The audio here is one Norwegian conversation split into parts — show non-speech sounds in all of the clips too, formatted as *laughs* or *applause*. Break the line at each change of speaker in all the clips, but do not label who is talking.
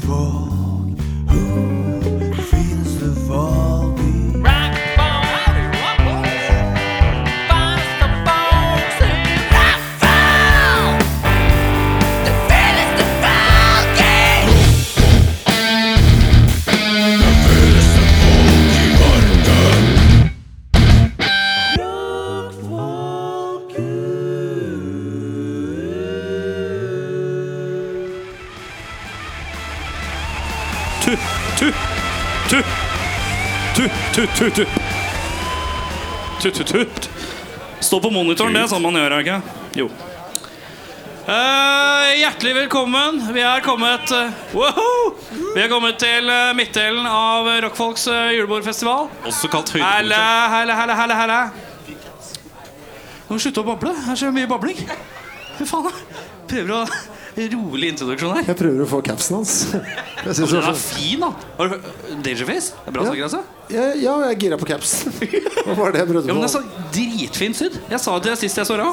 folk? Who feels the volbeat?
Tu, tu, tu. Tu, tu, tu, tu. Tu, tu, tu. Stå på monitoren, det er sånn man gjør, er det ikke? Jo. Eh, hjertelig velkommen. Vi er kommet eh, woho! Vi er kommet til eh, midtdelen av Rockfolks eh, julebordfestival.
Også kalt
Helle,
høydepunktet.
helle, helle, helle, helle. Nå må du slutte å bable. Her skjer mye babling. Fy faen. jeg Prøver å rolig introduksjon her.
Jeg prøver å få
*laughs*
capsen hans. Jeg synes det
Den
var
er
så-
fin, da. Har du hørt Dangerface? Det er bra
Ja.
saker, altså.
Jeg- Ja, jeg er gira
*laughs*
på capsen. Det var det jeg prøvde
Ja, men det er
på.
så dritfint sydd. Jeg sa det til deg sist jeg såra.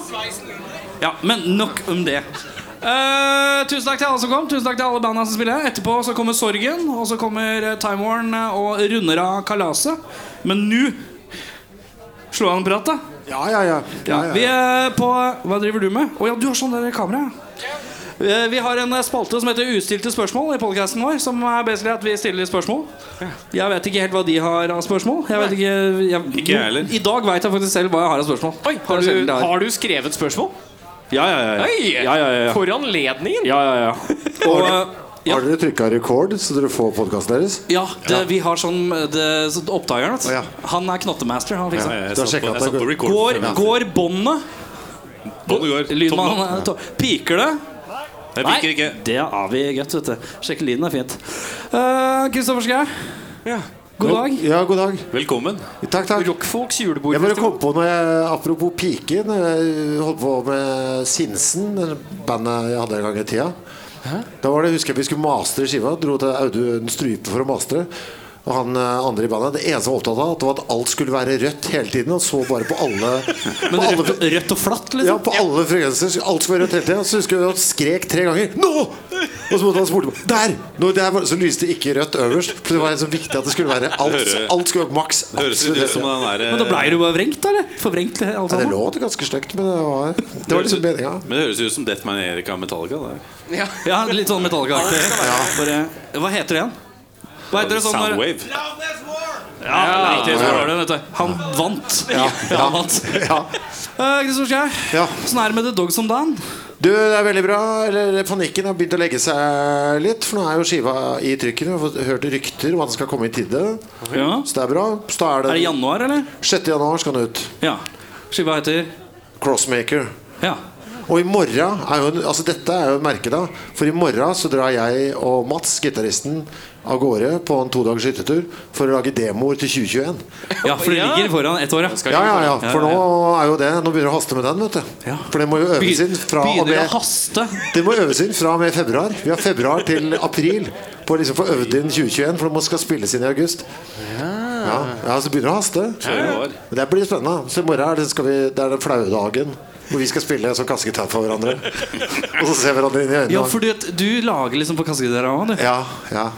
Ja, men nok om det. Eh, tusen takk til alle som kom. Tusen takk til alle bandene som spiller. Etterpå så kommer Sorgen, og så kommer eh, Time Warn eh, og runder av kalaset. Men nå slår han en prat, da.
Ja, ja, ja. ja,
Vi
ja.
er på Hva driver du med? Å ja, du har sånn der kamera. Eh, Vi har en eh, spalte som heter Ustilte spørsmål i podcasten vår. Som er basically at vi stiller litt spørsmål. Jeg vet ikke helt hva de har av spørsmål. Jeg vet ikke, jeg,
Ikke jeg heller.
I dag vet jeg faktisk selv hva jeg har av spørsmål.
Oi, har
Det er sjelden
du,
det er.
har du skrevet spørsmål?
Ja, ja, ja. ja.
Oi!
Ja, ja, ja, ja.
For anledningen!
Ja, ja, ja.
Og, ja.
Har dere trykka record, så dere får podkasten deres?
eh, ja, det, vi har sånn det, så Oppdageren, vet du.
Å, ja.
Han er knottemaster. Han fikser.
Du har
Ja, jeg Eh, satt
sjekket
på-
at
jeg satt
det
på
går-
record.
Går, går båndet?
Båndet går.
Lydmannen
Tommelen.
eh, to- Piker det?
Jeg piker ikke.
det er vi godt, vet du. Sjekke lyden er fint. Eh, Kristoffer Schau,
Ja.
god dag.
Ja, god dag.
Velkommen.
Takk, takk.
Rockfolks
Jeg bare
julebordfestival.
kom på når jeg, Apropos pike. Når jeg holdt på med Sinsen, det bandet jeg hadde en gang i tida. Da var det, husker jeg vi skulle mastre skiva. Dro til Audun Strype for å mastre. Og han eh, andre i bandet Det eneste han var opptatt av, at det var at alt skulle være rødt hele tiden. Han så bare på alle, på
Men
alle
rødt, rødt og flatt,
Ja,
liksom?
på alle frekvenser. Alt skulle være rødt hele tida. Så husker jeg han skrek tre ganger 'Nå!' Og så måtte han spole på. Der! Nå, der var, så lyste ikke rødt øverst. For det var så viktig at det skulle være alt.
Hører-
Alt skulle være maks.
Det høres litt ut som
absolutt.
den der,
Men da blei du bare vrengt, eller? Forvrengt eh, alt
Ja, det
sammen?
låt ganske stygt, men det var, det var liksom meninga.
eh, Men det høres ut som Death Manerika Metallica. Det.
Ja.
Ja, litt sånn metallkarakter. Bare- Hva heter det igjen? Hva heter det sånn når-
Soundwave.
Ja, riktig, så var det, vet du. Han vant. Ja, han vant.
Ja.
Eh, Kristoffer Schau,
Ja.
sånn er det med The Dogs om dagen.
Du, det er veldig bra. Eller Panikken har begynt å legge seg litt. For nå er jo skiva i trykken. Vi har fått hørt rykter om at den skal komme i tide.
Ja.
Så det er bra. Så da er
Er det
det
januar, eller?
6. januar skal den ut.
Ja. Skiva heter
Crossmaker.
Ja.
Og i morgen er jo, en- altså Dette er jo en merkedag. For i morgen så drar jeg og Mats, gitaristen, av gårde på en todagers hyttetur for å lage demoer til 2021.
ja, for det
Ja.
ligger foran ett år, ja.
Ja, ja, ja. For nå er jo det Nå begynner det å haste med den, vet du.
Ja.
For det må jo øves inn fra og
Begynner å
med
haste.
Det må øves inn fra og med februar. Vi har februar til april på å liksom få øvd inn 2021, for det må skal spilles inn i august. Ja, ja Så begynner det å haste.
Kjører år.
Men Det blir spennende. Så i morgen er det, skal vi, det er den flaue dagen hvor vi skal spille som kassegitar for hverandre. Og så se hverandre inn i øynene.
Ja, fordi at du lager liksom på kassegitaren også, du.
ja, ja.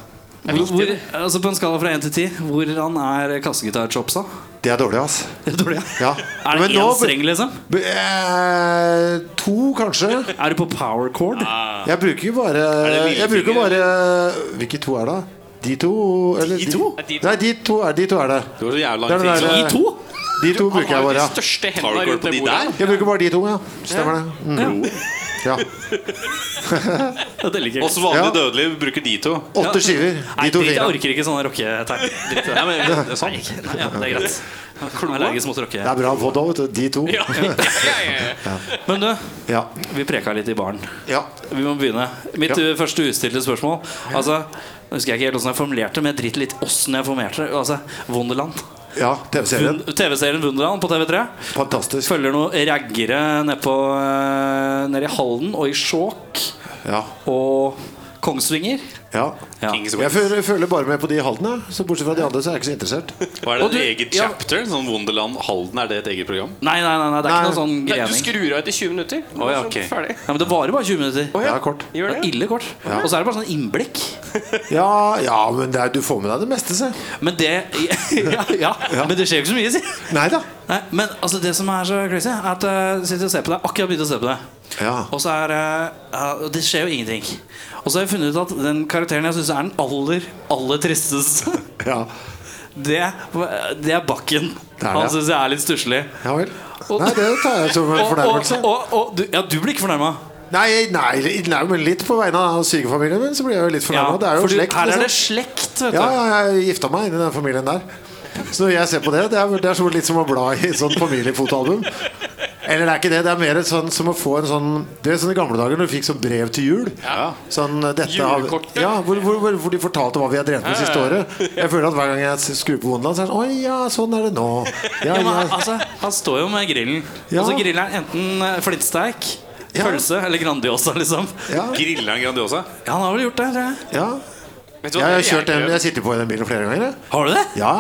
Hvor, hvor, altså på en skala fra 1 til 10, hvordan er kassegitarchopsa? *laughs*
Det er dårlig, ass.
Er det dårlig?
Ja.
Er det
Men
én
nå-
streng, liksom?
B- Eh, to, kanskje.
Er du på power chord?
Jeg bruker jo bare
det
Jeg bruker
lillefinger?
bare Hvilke to er det? De to? Eller de
to?
Nei, de to er, de to er det.
Det var så jævla
Det er
lang
den
tid.
der- eh,
I to?
De to bruker jeg
Han har
bare.
de
ja.
største
Har
hendene
du kål
rundt
på
det
de
bordet.
der?
Jeg bruker bare de to, ja. Stemmer det. Mm. Ja.
Ja, det liker
Oss
jeg.
vanlige
Ja.
dødelige bruker de to.
Åtte skiver.
Nei,
De to
drit, jeg
fingrene.
orker ikke sånne rocketegn. Drit i det.
Nei, men, det er
Nei,
sant.
ikke- nei, ja, det er greit. Jeg er allergisk mot
Det
rocke.
er bra å få det òg, vet du. De to.
Ja, ja, ja, ja.
Men du,
Ja.
vi preka litt i baren.
ja.
Vi må begynne. Mitt
Ja.
uh, første ustilte spørsmål Altså, nå husker jeg ikke helt hvordan jeg formulerte det, men jeg driter litt åssen jeg formulerte det. Altså, Wonderland.
ja TV-serien.
Wund- TV-serien Wunderland på TV3.
Fantastisk.
Følger noen raggere nedpå eh, nede i Halden og i Skjåk
Ja.
og Kongsvinger.
Ja.
Ja.
Jeg føler, føler bare med på de i Halden, jeg. Så bortsett fra de andre, så er jeg ikke så interessert.
Hva er det
Og du-
et eget
ja.
chapter? Sånn Wonderland Halden, er det et eget program?
Nei, nei, nei, nei det er
Nei.
ikke noe sånn
Nei, du
grening.
skrur av etter 20 minutter.
Å, ja,
Så
ok.
Ferdig.
Ja, men Det varer bare 20 minutter.
Å, ja.
Ja, kort.
Gjør
Det er
det?
ille kort. Og så er det bare sånn innblikk.
Ja, ja men det er, du får med deg det meste, se.
Men det *laughs* ja, ja, men det skjer jo ikke så mye, si.
Nei da.
Nei, men altså det som er så crazy, er at jeg sitter og ser på deg. Akkurat begynte å se på deg.
Ja.
Og så er eh, ja, og Det skjer jo ingenting. Og så har jeg funnet ut at den karakteren jeg syns er den aller, aller tristeste,
Ja,
det, det er Bakken.
Det er det.
Han syns jeg er litt stusslig.
ja vel.
Og-
Nei, det tar jeg som
Og,
en
og,
fornærmelse.
og, og du, ja, du blir ikke fornærma.
Nei, nei, nei, men litt på vegne av sykefamilien min, så blir jeg jo litt
Ja,
fornærma. det er jo
for du-
slekt.
her er
liksom.
det slekt, vet du.
Ja, ja, jeg gifta meg inn i den familien der. Så når jeg ser på det, det er, det er som, litt som å bla i et sånt familiefotoalbum. Eller det er ikke det, det er mer et sånn, som å få en sånn Du vet sånn i gamle dager når du fikk sånn brev til jul? Sånn, dette har,
Julekortet.
ja, hvor, hvor, hvor, hvor de fortalte hva vi har drevet med det siste året. Jeg føler at hver gang jeg skrur på Wonderland, så er det sånn Å ja, sånn er det nå. Ja,
Ja, men han-
ja.
altså, han står jo med grillen.
Ja.
Altså Grillen er enten eh, flintsteik,
Ja.
pølse eller Grandiosa, liksom.
ja,
Grilla en Grandiosa?
Ja, han har vel gjort det, tror jeg.
ja.
Vet du
Jeg
hva,
har
det er
kjørt den,
gøy.
jeg sitter på i den bilen flere ganger. jeg.
Har du det?
Ja.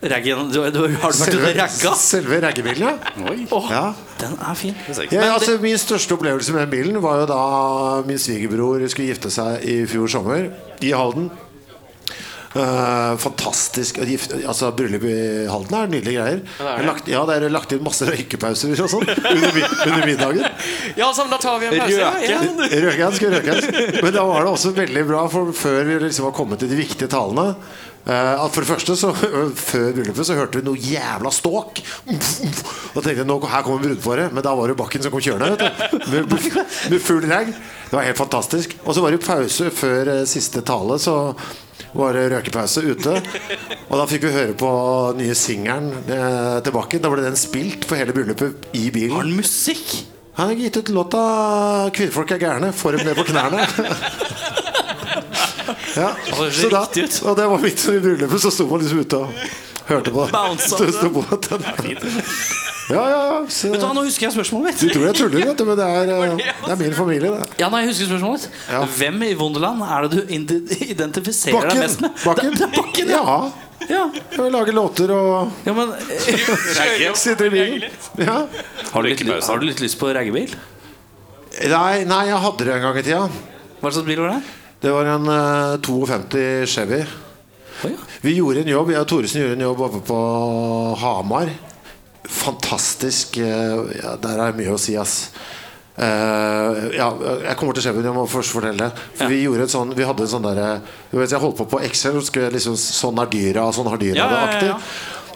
Raggen, du, du, har du vært ute
Selve,
og ragga?
selve raggebilen, ja.
Oi.
Åh,
ja.
Den er fin.
Ja,
Men
altså, min største opplevelse med den bilen var jo da min svigerbror skulle gifte seg i fjor sommer i Halden. Eh, fantastisk. Og gift- altså, bryllup i Halden er nydelige greier.
det er det.
Lagt, ja, det er lagt inn masse røykepauser og
*laughs*
sånn under, mi- under middagen.
Ja, sånn, da tar vi en pause. ja.
Røke.
Ja, men-
Røkjans, skal røkjans. Men da var det også veldig bra, for før vi liksom var kommet til de viktige talene eh, at for det første, så *laughs* Før bryllupet så hørte vi noe jævla ståk. Umf, umf. Og tenkte jeg, nå, her kommer brudeparet. Men da var det jo Bakken som kom kjørende. Vet du. Med, med, med full rag. Det var helt fantastisk. Og så var det pause før eh, siste tale. Så var det røkepause ute. Og da fikk vi høre på nye singelen eh, til Bakken. Da ble den spilt for hele bryllupet i bilen.
Har den musikk?
Han har gitt ut låta 'Kvinnfolk er gærne'. Får dem ned på
*laughs*
knærne. ja.
høres
så da,
Altså, riktig ut.
og det var midt i bryllupet, så sto man liksom ute og hørte på.
Bounce
Så
up.
sto på at den. Ja, ja, ja. Så,
Vet du hva, Nå husker jeg spørsmålet
du
mitt.
tror jeg tuller, vet du, men det er, eh, det er min familie, det.
Ja, nei, jeg husker spørsmålet mitt
Ja.
Hvem i Wonderland er det du ide- identifiserer deg mest
Bakken.
med? *laughs*
Bakken.
Det, det er bakken ja.
Ja.
Ja.
Jeg lager låter og
ja, men eh,
sitter i bilen. Ja.
har, du litt, ly- har du litt lyst på raggebil?
Nei, nei, jeg hadde det en gang i tida.
Hva slags bil var det?
Det var en eh, 52 Chevy.
Å, ja.
Vi gjorde en jobb, jeg og Thoresen gjorde en jobb oppe på Hamar. Fantastisk. eh, Ja, der er det mye å si, ass. Eh, ja, jeg kommer til Skjebnen, jeg må først fortelle det. For Vi gjorde et sånn, vi hadde en sånn derre du vet, Jeg holdt på på Excel, og skulle liksom, sånn er dyra, og sånn har dyra
Ja,
det
ja, ja,
aktig.
ja.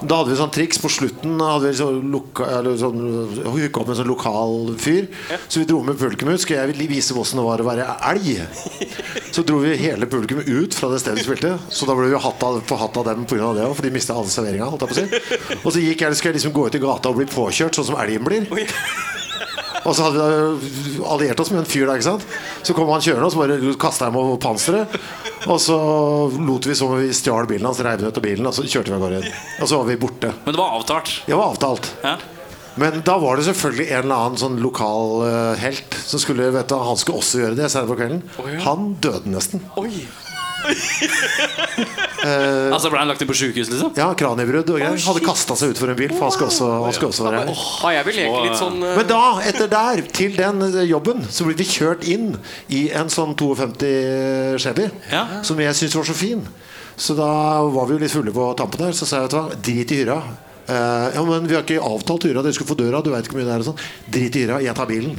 Da hadde vi sånn triks på slutten. da Hadde vi liksom loka, eller sånn, hooka opp med en sånn lokal fyr. Så vi dro med publikum ut. Skulle jeg vil vise hvordan det var å være elg? Så dro vi hele publikum ut fra det stedet vi spilte. Så da ble vi hatt av, på hatt av dem pga. det òg, for de mista alle serveringa. holdt jeg på å si. Og så gikk jeg, skulle jeg liksom gå ut i gata og bli påkjørt, sånn som elgen blir. Og så hadde vi da alliert oss med en fyr der, ikke sant? Så kom han kjørende, og så bare kasta jeg meg over panseret. Og så lot vi som om vi stjal bilen hans, reiv den ut av bilen, og så kjørte vi av gårde igjen. Og så var vi borte.
Men det var avtalt.
Det var avtalt.
Ja.
Men da var det selvfølgelig en eller annen sånn lokal eh, helt som skulle vet du, Han skulle også gjøre det senere på kvelden. Han døde nesten.
Oi.
Altså Ble han lagt inn på sjukehus, liksom?
Ja, kraniebrudd og greier. Hadde kasta seg utfor en bil, for han skulle også, han skulle også være her.
Ah, jeg vil leke litt sånn eh,
Men da, etter der, til den eh, jobben, så ble vi kjørt inn i en sånn 52 Chevy,
Ja.
som jeg syntes var så fin. Så da var vi jo litt fulle på tampen her, så sa jeg vet du hva, drit i hyra. Eh, ja, men vi har ikke avtalt hyra, dere skulle få døra, du veit ikke hvor mye det er og sånn. Drit i hyra, jeg tar bilen.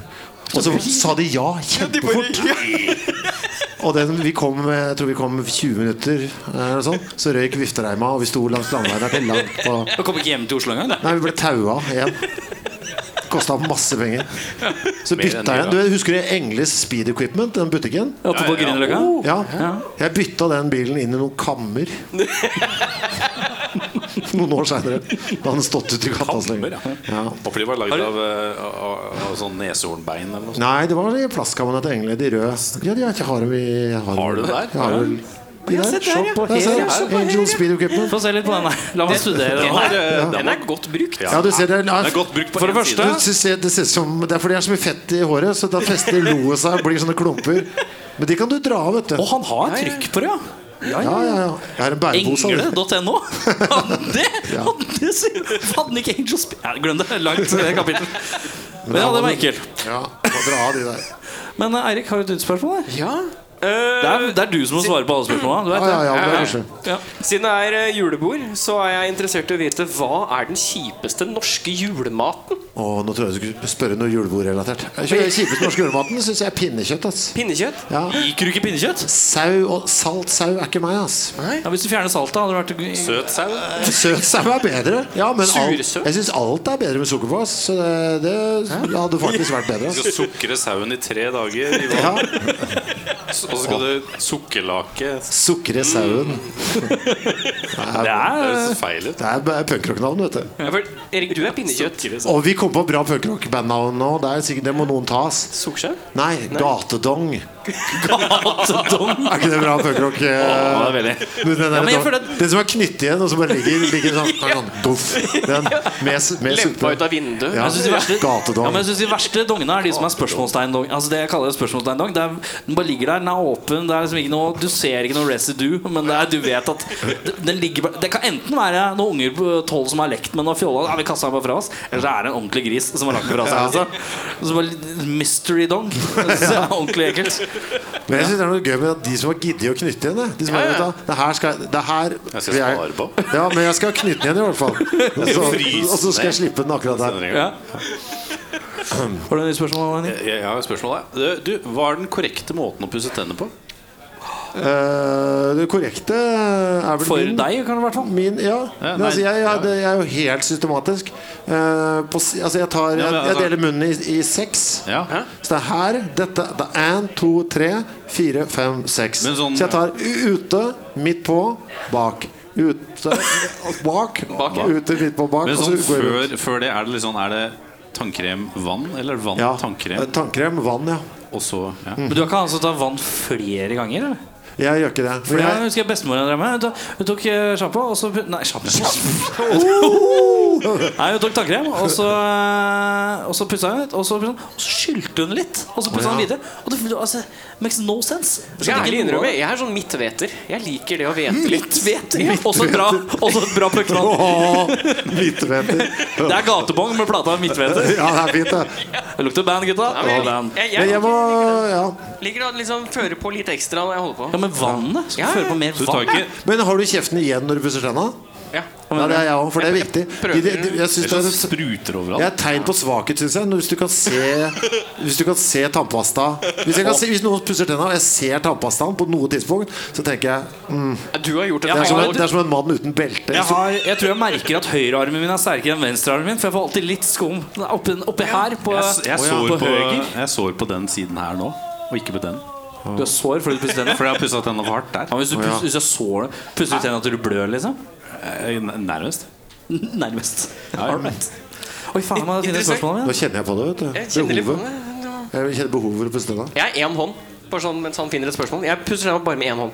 Og så sa de ja kjempefort. Og den, vi kom, eh, jeg tror vi kom 20 minutter, eh, eller sånn. Så røyk viftereima, og vi sto langs landeveien. der, Langt på
Du kom ikke hjem til Oslo engang? det.
Nei, vi ble taua igjen. Kosta masse penger. Så
Mer enn
bytta jeg
det,
du vet, Husker du Engles Speed Equipment, den butikken?
Oppe på
Ja, ja, ja.
Grünerløkka?
Ja. Jeg bytta den bilen inn i noen kammer. Noen år seinere. Da hadde den stått ute i gata så
Kammer,
lenge.
ja.
Ja.
Håper de var
Har
lagd
du-
av, eh, av, av sånn neshornbein eller noe sånt.
Nei, det var de plastkammerne til Engle, de røde. Ja, de har ikke har dem i Har,
Har du det der?
Jeg har vel- de der.
se der,
Se
ja.
på
Ja, se
her.
her.
Angel Speed Equipment.
Få se litt på den der. La meg studere den.
Den er, eh,
Den
den
er godt brukt.
Ja, du ser det.
den er godt brukt på
For det
én
første-
side.
Du ser- Det ser ut som Det er fordi det er så mye fett i håret, så da fester loet seg og blir sånne klumper. Men de kan du dra av, vet du.
Og han har trykk på det, ja. Ja,
Ja, ja, ja. Jeg har en bærepose. av
*laughs*
det.
Engle.no. Hadde det Hadde den ikke Angel Sp... Nei, Glem det. Langt det kapittel. Men ja, det var enkelt.
Ja, må dra av de der.
Men eh, Eirik, har du et nytt spørsmål? eller?
Ja.
Det er, det er du som må svare på alle spørsmålene. Du
Ja,
vet
ja,
det.
ja, det
Ja,
er
ja.
kanskje.
Ja.
Siden det er eh, julebord, så er jeg interessert i å vite hva er den kjipeste norske julematen?
Å, nå tror jeg du skulle spørre noe julebordrelatert. Jeg synes Det kjipeste norske julematen syns jeg er pinnekjøtt. ass
Pinnekjøtt?
ja.
Liker du ikke pinnekjøtt?
Sau og salt sau er ikke meg, ass.
Ja, hvis du fjerner saltet, hadde det vært
Søt sau.
Søt sau er bedre. Ja, men alt,
Sursøt?
jeg syns alt er bedre med sukker på. ass Så det, det hadde faktisk vært bedre. Ass.
Du skal sukre sauen i tre dager, i vann,
Ja,
og så skal du sukkerlake
Sukre sauen.
Det
Det
er
høres feil ut.
Det er bare punkrocknavn, vet du.
Ja, for, Erik, du er pinnekjøtt.
Og vi kom på bra punkrockbandnavn nå. Det, er sikkert, det må noen ta. ass
Sukkerskjev?
Nei, Gatedong.
gatedom.
Er ikke det bra punkrock?
Ja,
eh,
det er veldig
Men den, der,
Ja, men jeg føler
den,
at-
den som er knyttet igjen, og som bare ligger, ligger sånn, sånn duff. Den med, s- med
Lempa ut
suppe.
av vinduet?
Ja,
Jeg synes de verste, ja,
Gatedong.
men jeg synes de verste dongene er de som er spørsmålstegn-dong. Altså det jeg kaller det spørsmålstegn-dong det er, Den bare ligger der, den er åpen, det er liksom ikke noe, du ser ikke noe residue, men det er, du vet at den ligger bare Det kan enten være noen unger på tolv som har lekt med den og fjolla, ja, vi kastet den bare fra oss, eller så er det en ordentlig gris som har lagt den fra seg. Altså. Og så bare mystery dong. *laughs* Så er det ordentlig ekkelt.
Men jeg synes det er noe gøy med at de som har giddet å knytte igjen. det. De som
Ja,
har,
ja.
vet du, det her skal, det her
Jeg skal
vil
spare på.
Ja, men jeg skal knytte den igjen i hvert fall. Og så,
Fryse
og så skal jeg
ned.
slippe den akkurat der.
Ja. Har du noen spørsmål? Henning?
Jeg jeg har et spørsmål der. Du, hva er den korrekte måten å pusse tenner på?
Eh, det korrekte er vel
For
min-
deg, kan det sånn? i hvert fall.
Min, ja.
Ja,
Men altså,
nei,
jeg,
ja.
jeg, det- jeg er jo helt systematisk. Eh, på, si- altså, jeg, tar, jeg,
men
jeg
altså-
deler munnen i, i seks.
Ja.
Så det er her Dette det er én, to, tre, fire, fem, seks.
Men sånn-
Så jeg tar u- ute, midt på, bak. Ute, *laughs* bak,
Bak, ja.
ute, midt på, bak.
Men
og så
sånn
går jeg
før, før det, er det litt sånn Er det tannkrem, vann? Eller vann,
Ja. Eh,
tannkrem,
Tannkrem, vann, ja.
og så ja.
Men du har ikke han som tar vann flere ganger? eller?
Jeg gjør ikke det.
For
Men
jeg
jeg,
husker jeg bestemoren drev med. Hun tok- Hun tok eh, sjampo, og så put- Nei, sjampo Nei, hun tok tannkrem, og så eh, Og så pussa hun litt, og så, pusset hun- og så skylte hun litt, og så pussa hun videre. Og det altså, makes no sense.
Skal jeg ærlig innrømme, jeg er sånn midtveter. Jeg liker det å vete litt.
Litt vet jeg. Også et bra, også et bra pukknavn.
Åh, *laughs* midtveter.
Det er gatebong med plata Midtveter.
Ja, det er fint,
*laughs*
det.
Det lukter band, gutta.
Ja, men jeg,
Og band.
lik- jeg,
Men jeg
jeg,
må Ja.
liker å liksom føre på litt ekstra når jeg holder
Ja,
på.
men vannet? Skal
Ja,
du
ja.
føre på mer
Du tar
vann?
ikke
Men har du kjeften igjen når du pusser tenna?
Ja.
Ja, det er jeg òg, for det er viktig.
prøver.
De- de- Jeg synes
Det
det
er
er
sånn spruter
Jeg er
overalt.
et tegn på svakhet, syns jeg. Når- Hvis du kan se Hvis du kan se tannpasta Hvis, jeg kan se, hvis noen pusser tenna, og jeg ser tannpastaen på noe tidspunkt, så tenker jeg mm,
Du har gjort
det,
et
er som en,
valg.
det er som en mann uten belte.
Jeg, har, jeg tror jeg merker at høyrearmen min er sterkere enn venstrearmen min, for jeg får alltid litt skum oppi, oppi her. På,
Jeg, jeg,
Å ja,
sår på,
høyre.
jeg sår på den siden her nå, og ikke på den.
Du har sår fordi du pusser tennene?
For jeg har pussa tenna for hardt der.
Ja, men hvis du pusser, hvis jeg sår det, pusser du tennene til du blør, liksom? *laughs*
Eh, Nærmest.
Nærmest. All right. Oi, faen, jeg må finne
Interessant.
spørsmålet
Nå
mitt.
kjenner jeg på det. vet du
Jeg kjenner litt på
Behovet.
det.
Jeg kjenner behovet for å pusse tenna.
Jeg er én hånd. Bare sånn mens han finner et spørsmål. Jeg pusser tenna bare med én hånd.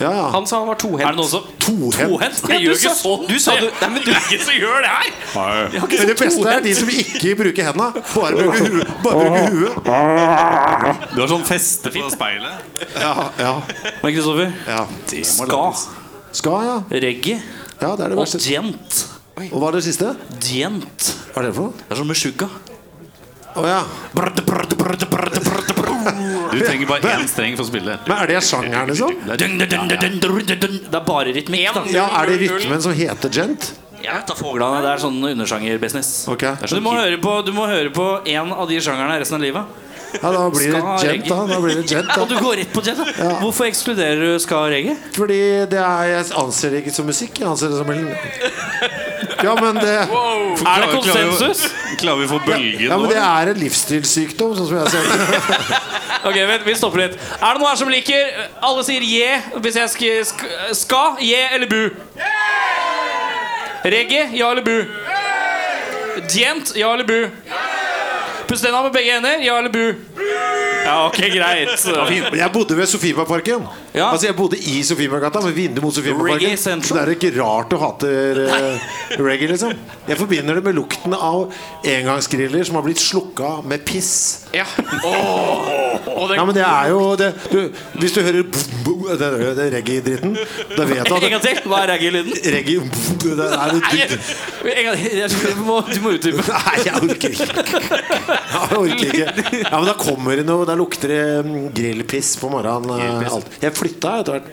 Ja, ja.
Han sa han var tohendt.
Er det noen som
Tohendt.
Tohendt? Jeg gjør ikke sånn!
Du sa du Nei, men du er ikke som gjør det her!
Men Det beste er de som ikke bruker henda. Bare bruker huet. Bare bruker huet.
Du har sånn feste på speilet.
Ja, ja,
Men Kristoffer,
ja.
ska,
Skal, ja.
reggae
Ja, Det er det
og
verste.
djent.
Og hva er det siste?
Djent.
Hva er det for noe?
Det er som med sjugga.
Å ja.
Brrd, brrd, brrd, brrd, brrd, brrd.
Du trenger bare én streng for å spille.
Men er det sjangeren, liksom?
Dun, dun, dun, dun, dun, dun, dun. Det er bare rytmikk, da.
Ja, Er det rytmen som heter gent?
Jeg vet da fuglene, det er sånn undersjanger-business.
Ok.
Så Du, må høre på- du må høre på én av de sjangerne resten av livet.
Ja, da blir det
Skal
gent, da. da, blir det gent, da.
Og du går rett på det, da. Hvorfor ekskluderer du ska og reggae?
Fordi det er, jeg anser det ikke som musikk, jeg anser det som en Ja, men det,
Er det konsensus?
Klarer vi å få bølgen
ja, men
nå?
det er en livsstilssykdom, sånn som jeg ser det.
Ok, vent, vi stopper litt. Er det noen her som liker Alle sier je hvis jeg skal, sk- ska, je eller bu. Reggae, ja eller bu. Djent, ja eller bu. Puss tenna med begge hender, ja eller bu. Ja, ok, greit.
Jeg bodde ved Sofiemarparken.
Ja.
Altså, jeg bodde i Sofiemarkata, med vindu mot
Reggae
Sofiemarparken.
Central.
Så det er ikke rart du hater eh, reggae, liksom. Jeg forbinder det med lukten av engangsgriller som har blitt slukka med piss.
Ja. Og det,
Ja, men det er jo det, du, Hvis du hører boom, boom, den, den reggae-dritten, da vet du at
En gang til. Hva er
*laughs*
reggae-lyden?
reggae boom, det, er jo
Nei,
dypt.
en gang til. Jeg tror- Du må, du må utdype.
Nei, jeg orker ikke. Jeg orker ikke. Ja, men da kommer det noe Da lukter det mm, grillpiss på morgenen. eh, Alt. Jeg flytta etter hvert.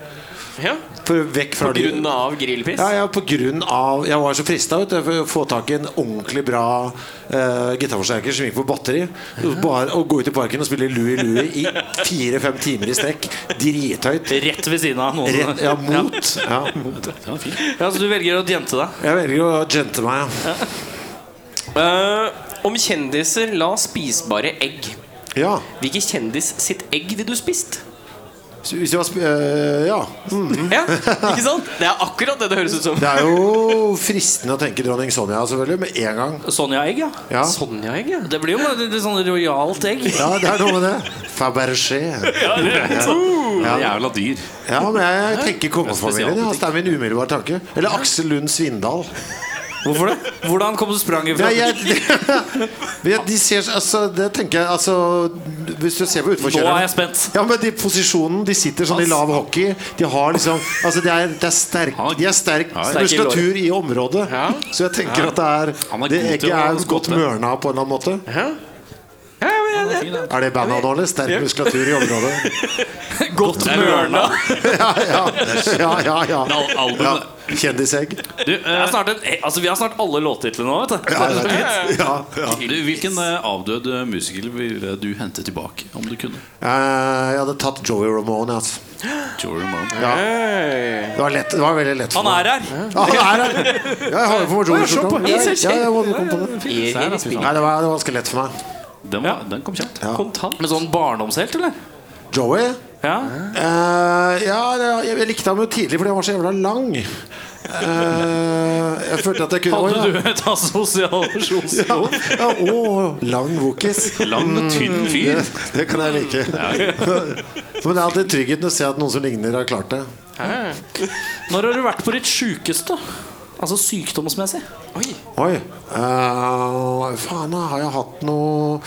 ja,
For vekk fra
på grunn av grillpiss.
Ja, ja, på grunn av Jeg var så frista vet du, for å få tak i en ordentlig bra eh, gitarforsterker som gikk på batteri. Bare å gå ut i parken og spille Louie Louie i fire-fem timer i strekk. Drithøyt.
Rett ved siden av noen.
Rett, ja, mot. Ja.
Ja, så du velger å jente deg?
Jeg velger å jente meg. ja.
Eh, om kjendiser la spisbare egg.
Ja.
Hvilken kjendis sitt egg ville du spist?
Så Hvis jeg var sp eh, Ja. Mm.
Ja, ikke sant? Det er akkurat det det høres ut som.
Det er jo fristende å tenke dronning Sonja, selvfølgelig, med en gang.
Sonja-egg, ja.
Ja.
Sonja-egg, ja.
Det blir jo litt, litt sånn rojalt egg.
ja, det er noe med det. Fabergé.
Jævla dyr.
Ja, men jeg tenker
Ja,
kongefamilien. Ja,
spesialbutikk.
altså, det er min umiddelbare tanke. Eller Aksel Lund Svindal.
Hvorfor det? Hvordan kom spranget fra?
Nei, jeg, *laughs* Men jeg- de ser, altså, det tenker jeg altså, Hvis du ser på
Nå er jeg
utforkjøreren
spent.
ja, men de posisjonen, de sitter sånn i lav hockey. De har liksom altså, Det er, det er sterk, de er sterk
Sterk
i låret.
muskulatur i området.
Ja.
Så jeg tenker at det
Han
er
er
Det
god til
egget
å
er godt
spotte.
mørna på en eller annen måte.
Ja, ja men jeg, jeg,
Er det bandet nå, eller? Sterk muskulatur i området.
Godt mørna.
Ja, ja. ja, ja, ja.
Al- albumet.
ja. Kjendisegg.
Du,
Det
eh,
er snart en, altså, vi har snart alle låttitlene nå, vet du.
Ja, jeg vet ikke. ja, ja.
du, hvilken eh, avdød eh, musiker ville du hente tilbake, om du kunne?
Eh, Jeg hadde tatt Joey Ramone. Altså.
Jory Ramone.
Ja. Det, var lett, det var veldig lett for
Han
meg.
er her.
Ja, han er her! Ja, Jeg har jo på meg Joey Ramone. Ja, ja, jeg må- kom på det.
jeg,
altså.
jeg,
Nei, det var, det var ganske lett for meg.
Den, var, den kom kjapt.
kontant.
Med sånn barndomshelt, eller?
Joey?
Ja.
Eh, ja, det- jeg, jeg likte ham jo tidlig fordi han var så jævla lang. Eh, jeg følte at jeg kunne
Hadde
Oi,
du et assosiasjonsbehov?
ja. Ja, å, lang vokis.
Lang,
Mm.
tynn fyr.
Det, det kan jeg like. Men det er alltid tryggheten å se at noen som ligner, har klart det.
Når har du vært på ditt sjukeste? Altså sykdomsmessig?
Oi. eh, faen, da har jeg hatt noe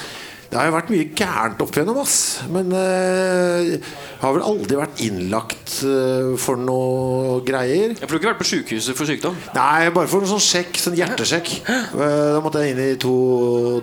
Det har jo vært mye gærent opp igjennom, ass. Men eh, jeg har vel aldri vært innlagt eh, for noe greier.
Jeg får ikke vært på sykehuset for sykdom.
Nei, bare for en sånn sjekk, sånn hjertesjekk. Eh, da måtte jeg inn i to,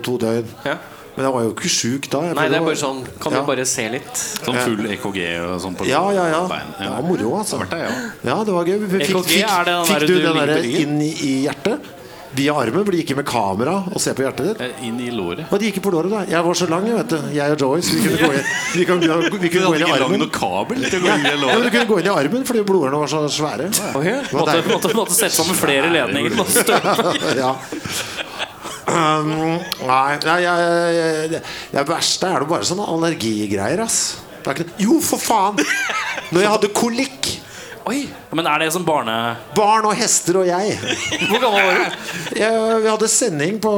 to døgn.
Ja.
Men jeg var jo ikke sjuk da. Jeg
Nei,
føler
det er
var-
bare sånn Kan
ja.
du bare se litt?
Sånn full EKG og sånn på
Ja, ja, ja.
bein.
Det var moro, altså.
Det har vært det, ja.
Ja, det var gøy.
E
Fikk, fikk,
EKG er det den
fikk
der
du
du
den
ligger
der
på ryggen?
inn i i hjertet? Via armen? For de gikk inn med kamera og se på hjertet ditt?
Eh, Inn i låret.
Og de gikk på låret, da. Jeg var så lang, jeg, vet du. Jeg og Joyce. Vi kunne gå inn, vi kan, vi
Du
kunne gå inn
hadde
i
ikke lang
armen.
nok kabel til å gå inn i
Ja, men
låret.
du kunne gå inn i armen fordi blodårene var så svære. Det var
Måtte,
deilig.
måtte, måtte sette sammen flere ledninger. Måtte støpe.
*laughs* Ja. Um, nei, nei jeg, jeg, det- det verste er det bare sånne allergigreier, ass. Det er ikke, jo, for faen! Når jeg hadde kolikk.
Oi. Men er det som barne...
Barn og hester og jeg.
Hvor gammel var du?
jeg vi hadde sending på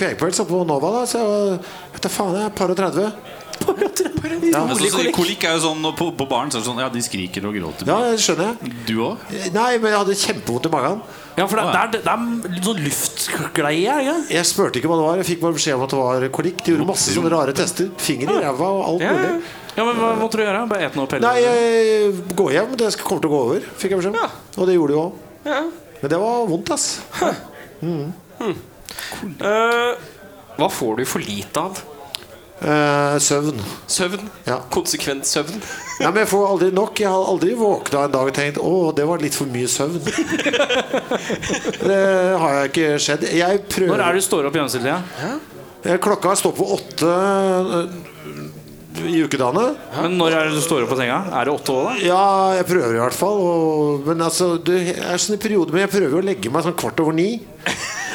Kvegpels og på Nova, da, så jeg var vet du faen, jeg er par og 30.
Men så- så Kolikk er jo sånn og på, på barn så er det sånn Ja, de skriker og gråter.
Ja, det skjønner jeg.
Du òg?
Eh, Nei, men jeg hadde kjempevondt i magen.
Ja, for det, det, er, det er sånn luftgleie, er det ikke?
Jeg spurte ikke hva det var, jeg fikk bare beskjed om at det var kolikk. De gjorde masse sånne rare tester. Finger i ræva og alt
Ja, ja.
mulig.
Ja, men hva måtte du gjøre? Bare et noe pelle?
Nei, jeg gå hjem. Det skal- kommer til å gå over, fikk jeg beskjed om. Og det gjorde det jo òg.
Ja.
Men det var vondt, ass.
Eh, hva får du for lite av?
Eh, søvn.
Søvn?
Ja.
Konsekvent søvn?
Nei, men jeg får aldri nok. Jeg har aldri våkna en dag og tenkt 'Å, det var litt for mye søvn'. det har jeg ikke skjedd. Jeg
Når
prøver
er det du står opp i gjennomsnittlig?
Eh, Klokka står på åtte eh, i ukedagene.
Men når er det du står opp på senga? Er det åtte år, da?
Ja, jeg prøver i hvert fall. Og, men altså, det er sånne perioder Men jeg prøver å legge meg sånn kvart over ni.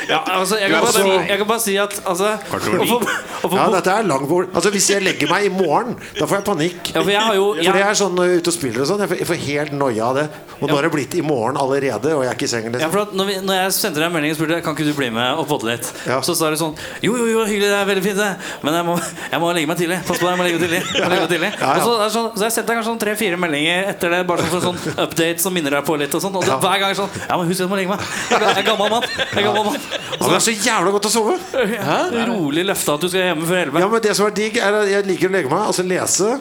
Ja, altså, jeg, kan
Du
bare
er
si,
så-
jeg kan bare si at altså,
Kvart over ni.
og for- og for-
Ja, dette er lang Altså, hvis jeg legger meg i morgen, da får jeg panikk.
ja, for jeg har
*laughs*
jo jeg,
For det er sånn når jeg er ute og spiller og sånn. Jeg får- jeg får helt noia av det. Og nå er det blitt i morgen allerede, og jeg er ikke i sengen.
ja,
Liksom.
for at når, vi, når jeg sendte deg en melding og spurte Kan ikke du bli med og podde litt,
Ja.
så sa du sånn Jo, jo, jo, hyggelig, det er veldig fint, det. Men jeg må, jeg må legge meg tidlig. Pass på deg, jeg må legge meg tidlig. Jeg må legge meg tidlig.
*laughs* Ja, ja.
Og så, er det sånn, så jeg sendte deg kanskje sånn tre-fire meldinger etter det, bare sånn for en sånn update som minner deg på litt. Og sånn Og så,
Ja.
hver gang sånn Ja, men husk at jeg må legge meg. Jeg er gammel mann. Jeg er gammel mann.
Ja, det er så jævla godt å sove!
Rolig løfte at du skal hjemme før elleve.
Ja, men det som er digg, er at jeg liker å legge meg, altså lese,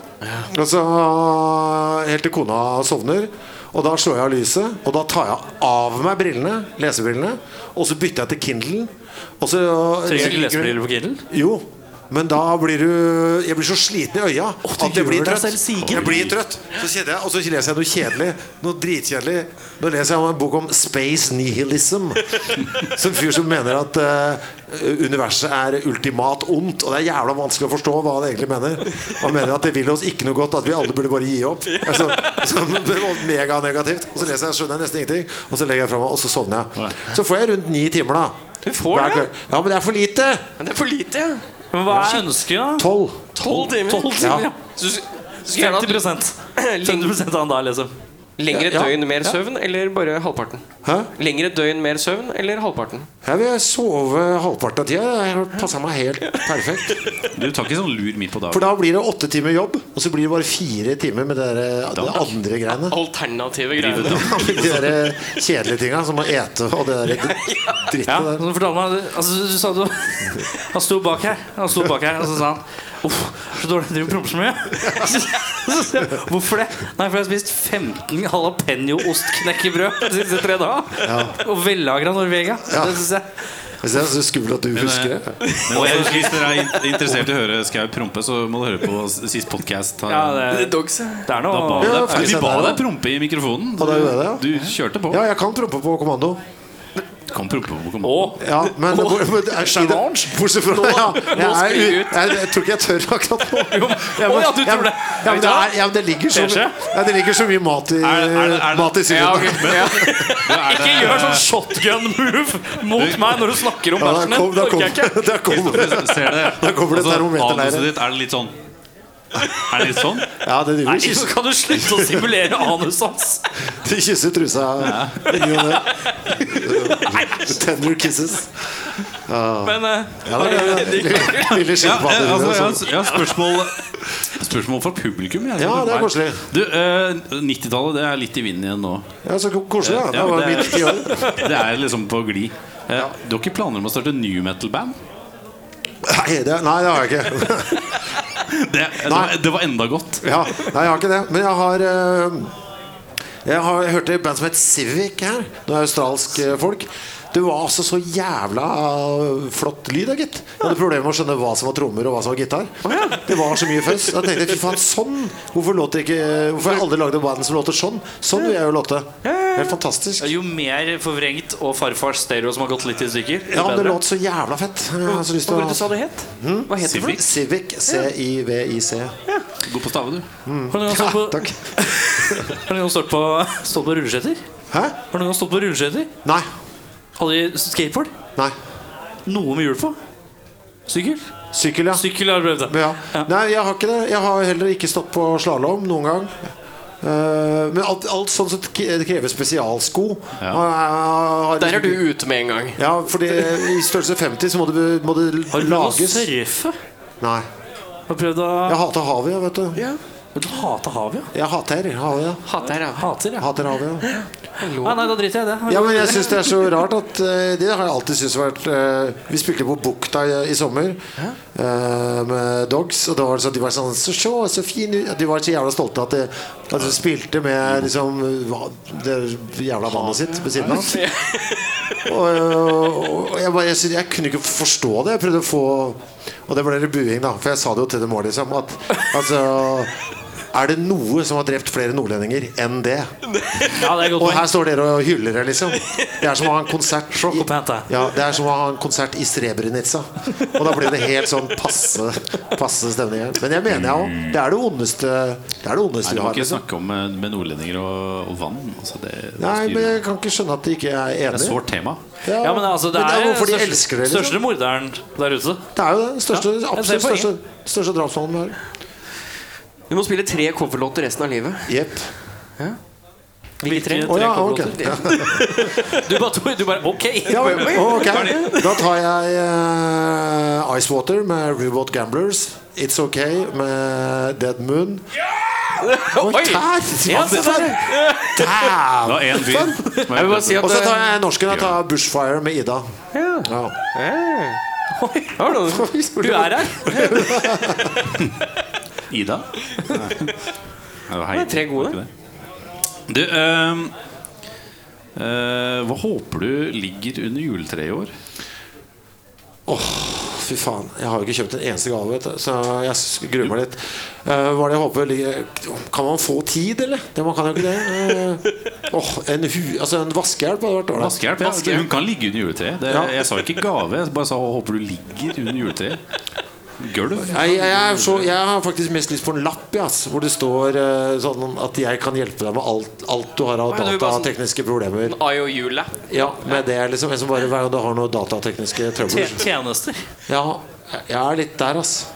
og så ah, helt til kona sovner. Og da slår jeg av lyset, og da tar jeg av meg brillene, lesebrillene, og så bytter jeg til Kindlen. Og så ah,
Trenger ikke lesebriller på Kindle.
Jo, men da blir du Jeg blir så sliten i øya at jeg blir
gjør deg
trøtt.
selv sigen.
Jeg blir trøtt så kjenner jeg, Og så leser jeg noe kjedelig. Noe dritkjedelig. Nå leser jeg om en bok om space nihilism. Så en fyr som mener at eh, universet er ultimat ondt. Og det er jævla vanskelig å forstå hva han egentlig mener. Han mener at det vil oss ikke noe godt, at vi alle burde bare gi opp. Altså, så, Meganegativt. Og så leser jeg, skjønner jeg nesten ingenting, og så legger jeg fra meg, og så sovner jeg. Så får jeg rundt ni timer, da.
Du får
Hver
det?
kveld. Ja, men det er for lite!
Men det er for lite, ja.
Men hva er ønsket, da?
Tolv.
Tolv timer.
12 timer, ja.
Så du s- du skulle gjerne
50
hatt
50 av en dag, liksom.
*laughs* lengre
Ja.
døgn, mer søvn, eller bare halvparten?
Hæ?
Lengre døgn, mer søvn, eller halvparten?
Jeg vil sove halvparten av tida. Det har passet meg helt perfekt.
Du tar ikke sånn lur midt på
For
dagen.
da blir det åtte timer jobb, og så blir det bare fire timer med det der- det andre greiene.
Alternative greier.
De
sånn.
der eh, kjedelige tinga som å ete
*laughs*
og det der
Ja,
drittet der.
så fortalte han meg altså, du, sa du, *laughs* Han sto bak her, han sto bak her og så sa han Uff, så dårlig jeg driver og promper så mye. *laughs* Så, så, sa jeg, Hvorfor det? Nei, for jeg har spist 15 jalapeño-ostknekkebrød de siste tre dagene. Og vellagra Norvega.
Ja.
Det synes jeg.
Jeg synes det er så skummelt at du
eh,
husker det.
Men jeg husker, Hvis dere er in- interessert i å høre Skau prompe, så må dere høre på s- sist podkast.
Ja, det,
Dogs.
det er
Da ba
noe
vi
Ja,
deg,
faktisk,
vi ba
det er
deg prompe i mikrofonen.
Ja, det gjorde jeg,
Du kjørte på.
Ja, jeg kan trompe på kommando.
Du kan prompe på
Å,
kommando.
Ja, men hvor- men det er- Bortsett fra ja, jeg, er, u- jeg, jeg tror ikke jeg tør akkurat
*laughs*
nå. Jeg,
Å,
må-
ja, du tror det.
Ja, men det, er, ja, men det, ligger så, mye- ja, det ligger så mye mat i,
Er det- er det- er det-
mat i syren.
Ja, ok. ja.
ikke gjør sånn shotgun-move mot meg når du snakker om
Ja, da
bæsjen din.
kom, da
Det
kom,
orker jeg ikke.
*laughs* da kom.
*laughs* Ser dere?
Da kommer det termometerleire.
anuset ditt, er det litt sånn Er det litt sånn?
Ja, det driver
Nei,
og kysser-
så kan du slutte å simulere anus hans?
*laughs* De kysser trusa i ny og ne. Tender kisses.
Men eh,
Ja, det er det. Lille sånn.
Ja, eh, altså, jeg,
skilpadder.
har- jeg har spørsmål Spørsmål fra publikum. Jeg,
Ja, det er koselig.
Du, eh, 90-tallet det er litt i vinden igjen nå.
Ja, så koselig. Ja. Det
Ja,
var
det er-
midt i år.
*laughs* Det er liksom på glid. Eh, Du har ikke planer om å starte new metal-band?
Nei, det, nei, det har jeg ikke.
Det, det, var- det var enda godt.
Ja, nei, jeg har ikke det. Men jeg har eh, Jeg har jeg hørte et band som het Civic her. Det er australsk eh, folk. Det var altså så jævla eh, flott lyd, da, gitt. Jeg hadde problemer med å skjønne hva som var trommer og hva som var gitar. Det var så mye fuzz. Da tenkte jeg fy faen, sånn! Hvorfor, låter ikke, hvorfor har jeg aldri lagd et band som låter sånn? Sånn vil jeg jo låte. Helt fantastisk.
Jo mer forvrengt og farfars stereo som har gått litt i stykker, jo
Ja, men det
bedre.
låt så jævla fett. Jeg har så Hmm? lyst
Hva
til
var det
å
du sa det het? Hva het det for noe?
Civic.
Civic. C-I-V-I-C.
God på stave, du.
Har du noen gang
Ja,
stått på,
takk.
har du noen gang stått på, stått på rulleskøyter?
Hæ?
Har du noen gang stått på rulleskøyter?
Nei.
Hadde de skateboard?
Nei.
Noe med hjul på? Sykkel?
Sykkel, ja.
Sykkel har du prøvd,
Ja.
Ja.
Nei, jeg har ikke det. Jeg har heller ikke stått på slalåm noen gang. Eh, men alt, alt sånt som k- det krever spesialsko. eh,
Ja.
har- har-
Der er du ute med en gang.
Ja, for i størrelse 50 så må det, må det
Har du prøvd å
lages.
surfe?
Nei.
Har du prøvd å
Jeg hater havet, jeg, vet du.
Men Du hater havet, ja?
Jeg hater havet. ja.
Hater jeg.
Hater,
Jeg
ja.
hater havet, ja.
Nei, nei, da driter jeg i det.
Ja, men jeg synes det er så rart at eh, Det har jeg alltid syntes vært eh, Vi spilte på Bukta i, i sommer eh, med Dogs, og da var det sånn de var sånn Så sjå, så fin ut De var så jævla stolte at de, at de spilte med liksom hva- det jævla vannet sitt ved siden av. *laughs* Og, og, og jeg, bare, jeg, synes, jeg kunne ikke forstå det. Jeg prøvde å få Og det ble det buing, da. For jeg sa det jo til dem òg, liksom. At altså Er det noe som har drept flere nordlendinger enn det?
Ja, det er godt
Og her
poeng.
står dere og hyller det, liksom. Det er som å ha en konsert i,
opp og hent deg.
ja, Det er som å ha en konsert i Srebrenica. Og da blir det helt sånn passe, passe stemning her. Men jeg mener jeg òg. Det er det ondeste Det er det ondeste vi
Nei, du må
har.
ikke
Liksom.
snakke om eh, med nordlendinger og, og vann. Altså, det, det
Nei,
styrer.
men
det
jeg kan ikke skjønne at de ikke er
er et
enige.
sårt tema.
Ja,
Ja, men altså, det
men
er,
hvorfor de
største-
elsker det, liksom.
største morderen der ute.
Det er jo det. Største,
Ja, jeg ser
absolutt
poenget.
største, største drapsmannen vi har.
Du må spille tre coverlåter resten av
*laughs*
livet.
Jepp.
Hvilke tre?
Å ja, ok.
Trekkoblotter.
*laughs*
*laughs* Du bare, tok- du bare OK!
Ja, ok. Da tar jeg eh, Ice Water med Robot Gamblers. It's OK med Dead Moon.
Oi! Ja, se der.
Det var én
Sånn.
fyr. som
Jeg vil bare si at
Og så tar
eh,
jeg norsken. Jeg tar Bushfire med Ida. Ja. *laughs*
hør nå, Eh. Du er her.
Ida? Nei. Hei.
Det er tre gode.
Var ikke det. Du, ehm, eh, hva håper du ligger under juletreet i år?
Fy faen, jeg har jo ikke kjøpt en eneste gave, vet du, så jeg s- gruer meg litt. Eh, hva er det jeg håper ligger- Kan man få tid, eller? Det, man kan jo ikke det. Eh, åh, en, hu, altså, en vaskehjelp hadde vært ålreit.
Vaskehjelp? Ja,
Vaskehjelp.
hun kan ligge under juletreet. Det,
Ja.
Jeg sa ikke gave, jeg bare sa hva håper du ligger under juletreet. Gulv?
Nei, jeg, er så, jeg har faktisk mest lyst på en lapp jeg, ass, hvor det står eh, sånn at jeg kan hjelpe deg med alt, alt du har av
Å, ja, du vil bare sånn-
datatekniske problemer.
IOU-la.
Ja, men det er liksom en som bare hver gang du har noen datatekniske trøbler.
Tjenester.
Ja, jeg er litt der, ass.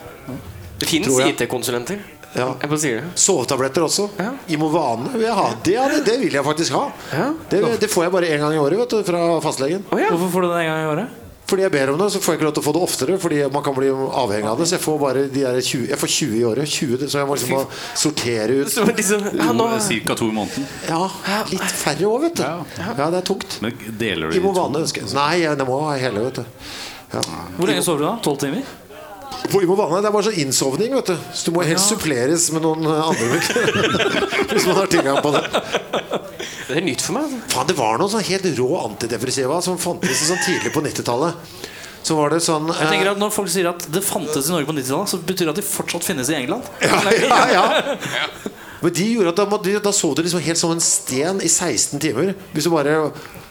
Det fins
Tror jeg.
IT-konsulenter.
Ja.
Jeg bare sier det.
Sovetabletter også.
Ja.
Imovane vil jeg ha. Det, ja, det, det vil jeg faktisk ha.
Ja.
Det, det får jeg bare én gang i året vet du, fra fastlegen.
Å ja.
Hvorfor får du det en gang i året?
Fordi jeg ber om det, så får jeg ikke lov til å få det oftere. Fordi man kan bli avhengig av det. Så jeg får bare de der 20, jeg får 20 i året. 20, så jeg må liksom bare sortere ut
Så liksom, ja, nå,
Cirka to i måneden.
Ja, litt færre òg, vet du. Ja, det er tungt.
Men deler du det i to?
Imovane ønsker jeg. Nei, jeg- det må ha hele, vet du. Ja.
Hvor lenge sover du da? Tolv timer?
På Imovane det er bare sånn innsovning, vet du. Så du må helst suppleres med noen eh, andre *laughs* bruker. Hvis man har tilgang på det.
det er nytt for meg. altså.
Faen, det var noen sånn helt rå antidepressiva som fantes sånn tidlig på 90-tallet. Så var det sånn
Jeg tenker
eh,
at Når folk sier at det fantes i Norge på 90-tallet, så betyr det at de fortsatt finnes i England.
*laughs* ja, ja. Men de gjorde at da, måtte- da sov du liksom helt som en sten i 16 timer. Hvis du bare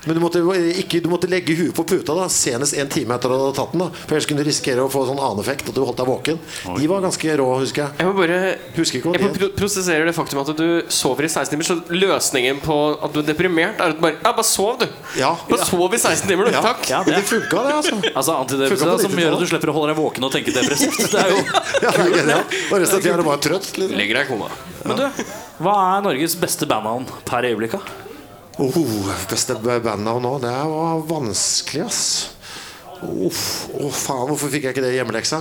men du måtte, ikke, du måtte legge huet på puta da senest en time etter at du hadde tatt den. da For ellers kunne du risikere å få sånn annen effekt at du holdt deg våken. De var ganske rå, husker jeg.
Jeg må bare
Husker ikke hva
jeg
det
pro- prosesserer det faktum at du sover i 16 timer. Så løsningen på at du er deprimert, er at du bare Ja, bare sov, du.
Ja.
Bare sov i 16 timer, du.
Ja.
Takk.
Ja,
Men det
det.
funka, det, altså.
Altså Antidepressiva
Funker på
som gjør
90-tallet.
at du slipper å holde deg våken og tenke depressivt. Det er jo
Ja, det er genialt. Og resten av tida er du bare trøtt. Liksom.
Legger deg i koma.
Men du, hva er Norges beste bandnavn per øyeblikk? da?
Oh, beste bandnavn nå. Det var vanskelig, ass. Uff, Å, faen, hvorfor fikk jeg ikke det i hjemmeleksa?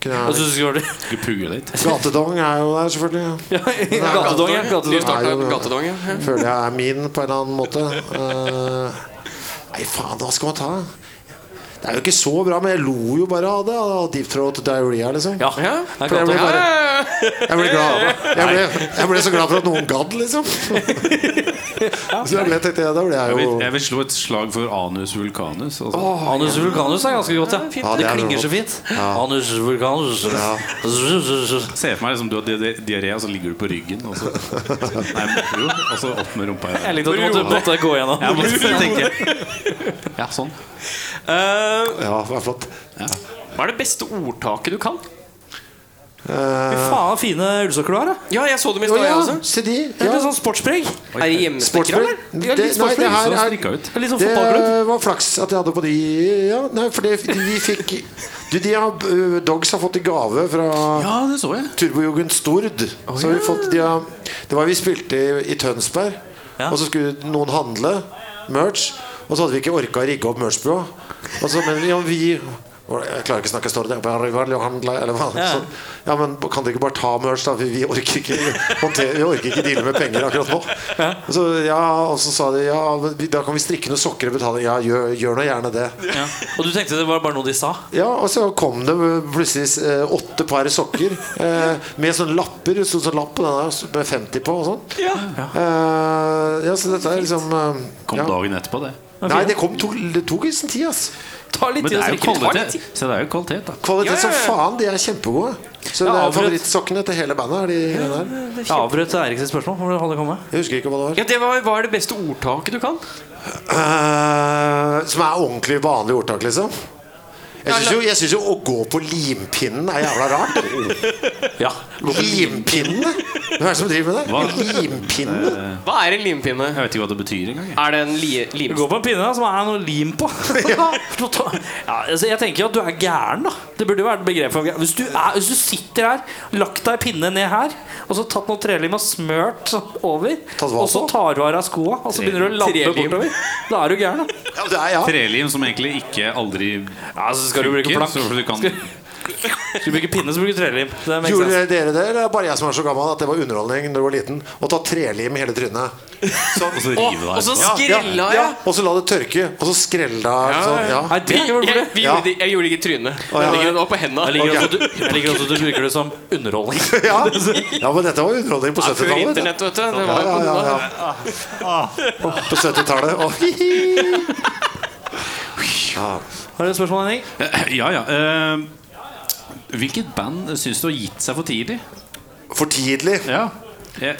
Kunne
Hva
jeg...
synes du skulle vært *laughs*
Skal vi pugge litt?
Gatedong er jo der, selvfølgelig.
det? Gatedong, ja.
Ny
Gatedong.
start
Nei,
av
jo, ja.
gatedong, ja.
Føler jeg er min på en eller annen måte. Eh, nei, faen, hva skal man ta? Det er jo ikke så bra, men jeg lo jo bare av det. Av Deep Throat Diarrhea, liksom.
Ja, det
Ja.
er
For jeg ble
Gatedong.
bare Jeg ble, glad, jeg, ble, jeg ble så glad for at noen gadd, liksom. Så jeg ble, tenkte jeg, da ble
Jeg
jeg
vil,
jo
jeg vil slå et slag for anus vulcanus. Altså.
Anus vulcanus er ganske godt, ja.
Ja, det
det
er
klinger
godt.
så fint. Anus vulcanus.
Se for meg liksom, du har di- di- diaré, og så ligger du på ryggen. Og så, nei, men, jo, og så opp med rumpa.
Jeg likte at du måtte, måtte gå gjennom.
Jeg måtte tenke.
*laughs*
Ja, sånn.
Eh,
Ja, det var flott.
hva er det beste ordtaket du kan?
Eh.
Fy faen, fine ullsokker du har, da.
Ja, jeg så dem i
Å
stad, jeg
ja,
også.
se de.
Det er
Ja.
litt sånn sportspreg.
Er det hjemmesnekker,
Sportsbriller?
eller?
Ja, litt
Det- Nei, det
Så
her er
strikka ut.
Det er Litt sånn fotballklubb.
Det eh, var flaks at jeg hadde på de ja, Nei, for det, vi fikk du, de har, uh, Dogs har fått i gave fra
Ja, det så jeg.
Turbojugend Stord. så har vi fått, de har, det var vi spilte i, i Tønsberg,
Ja.
og så skulle noen handle merch. Og så hadde vi ikke orka å rigge opp merchbua. Og så, men ja, vi Jeg klarer ikke å snakke stord. jeg bare, «Vi var jo handla», Eller hva?
Ja.
Så, ja, men kan dere ikke bare ta merch, da? Vi, vi orker ikke håndtere, Vi orker ikke deale med penger akkurat nå. Og Så, ja, og så sa de ja, men vi- da kan vi strikke noen sokker og betale. Ja, gjør, gjør nå gjerne det.
Ja. Og du tenkte det var bare noe de sa?
Ja, og så kom det plutselig eh, åtte par sokker eh, med sånne lapper. Det sto sånn lapp på den der med 50 på og sånn.
Ja.
Eh, ja, så dette er liksom eh,
Kom
ja.
dagen etterpå, det.
Nei, det kom to, det tok liksom tid, ass.
Ta litt
Men
tid
det
å
er jo
strikke.
kvalitet. Se, det er jo kvalitet, da.
Kvalitet
Ja, ja, ja.
som faen. De er kjempegode. Så det
Ja,
er
avbrøt.
favorittsokkene til hele bandet. Er de greiene der.
Jeg avbrøt Eirik sitt spørsmål. Hvor hadde det kommet?
Jeg husker ikke hva det var.
Ja, det var, Hva er det beste ordtaket du kan?
Eh, som er ordentlig vanlig ordtak, liksom. Jeg syns
la-
jo, jeg synes jo å gå på limpinnen er jævla
Oh.
rart.
Ja.
Limpinnene? Hvem er det som driver med
Hva?
det? Limpinnene?
Hva er en limpinne?
Jeg vet ikke hva det betyr engang. jeg.
Er det en li
Du
lim...
går på en pinne da, som er noe lim på. *laughs* ja, altså, jeg tenker jo at du er gæren, da. Det burde jo være et begrep for gæren. Hvis du, er, hvis du sitter her, lagt deg pinne ned her, og så tatt noe trelim og smørt sånn over,
Tatt hva
og så
på?
tar du av deg skoa, og så begynner du å labbe
Trelim.
bortover, da er du gæren, da.
Ja, det er, ja.
Trelim som egentlig ikke aldri
Ja, så skal du bli ikke
funker,
plank.
så du kan
Skulle bruke pinne, så bruker du trelim. Det makes sense.
Gjorde dere det, eller er det bare jeg som er så gammel at det var underholdning når du var liten? Å ta trelim i hele trynet.
*laughs* Og så
Å,
rive
og så
deg.
skrella
ja.
jeg!
Og så la det tørke, og så skrella sånn, ja.
Nei, det
Jeg,
gjorde
jeg,
du.
vi
Ja.
gjorde det, jeg gjorde det ikke i trynet.
ja,
Jeg
ja.
ligger det nå på henda.
Jeg liker, også, at du, jeg liker også at du bruker det som underholdning.
*laughs*
ja. *laughs* ja, men dette var underholdning på
Ja, Før
70-tallet. det.
internett, vet du. Det
Ja,
var jo
ja, ja,
på-
ja. På 70-tallet. Å, hi, hi. *laughs* Ja.
Har du et spørsmål, Henning?
Ja, ja. eh, hvilket band syns du har gitt seg for tidlig?
For tidlig.
Ja. Eh,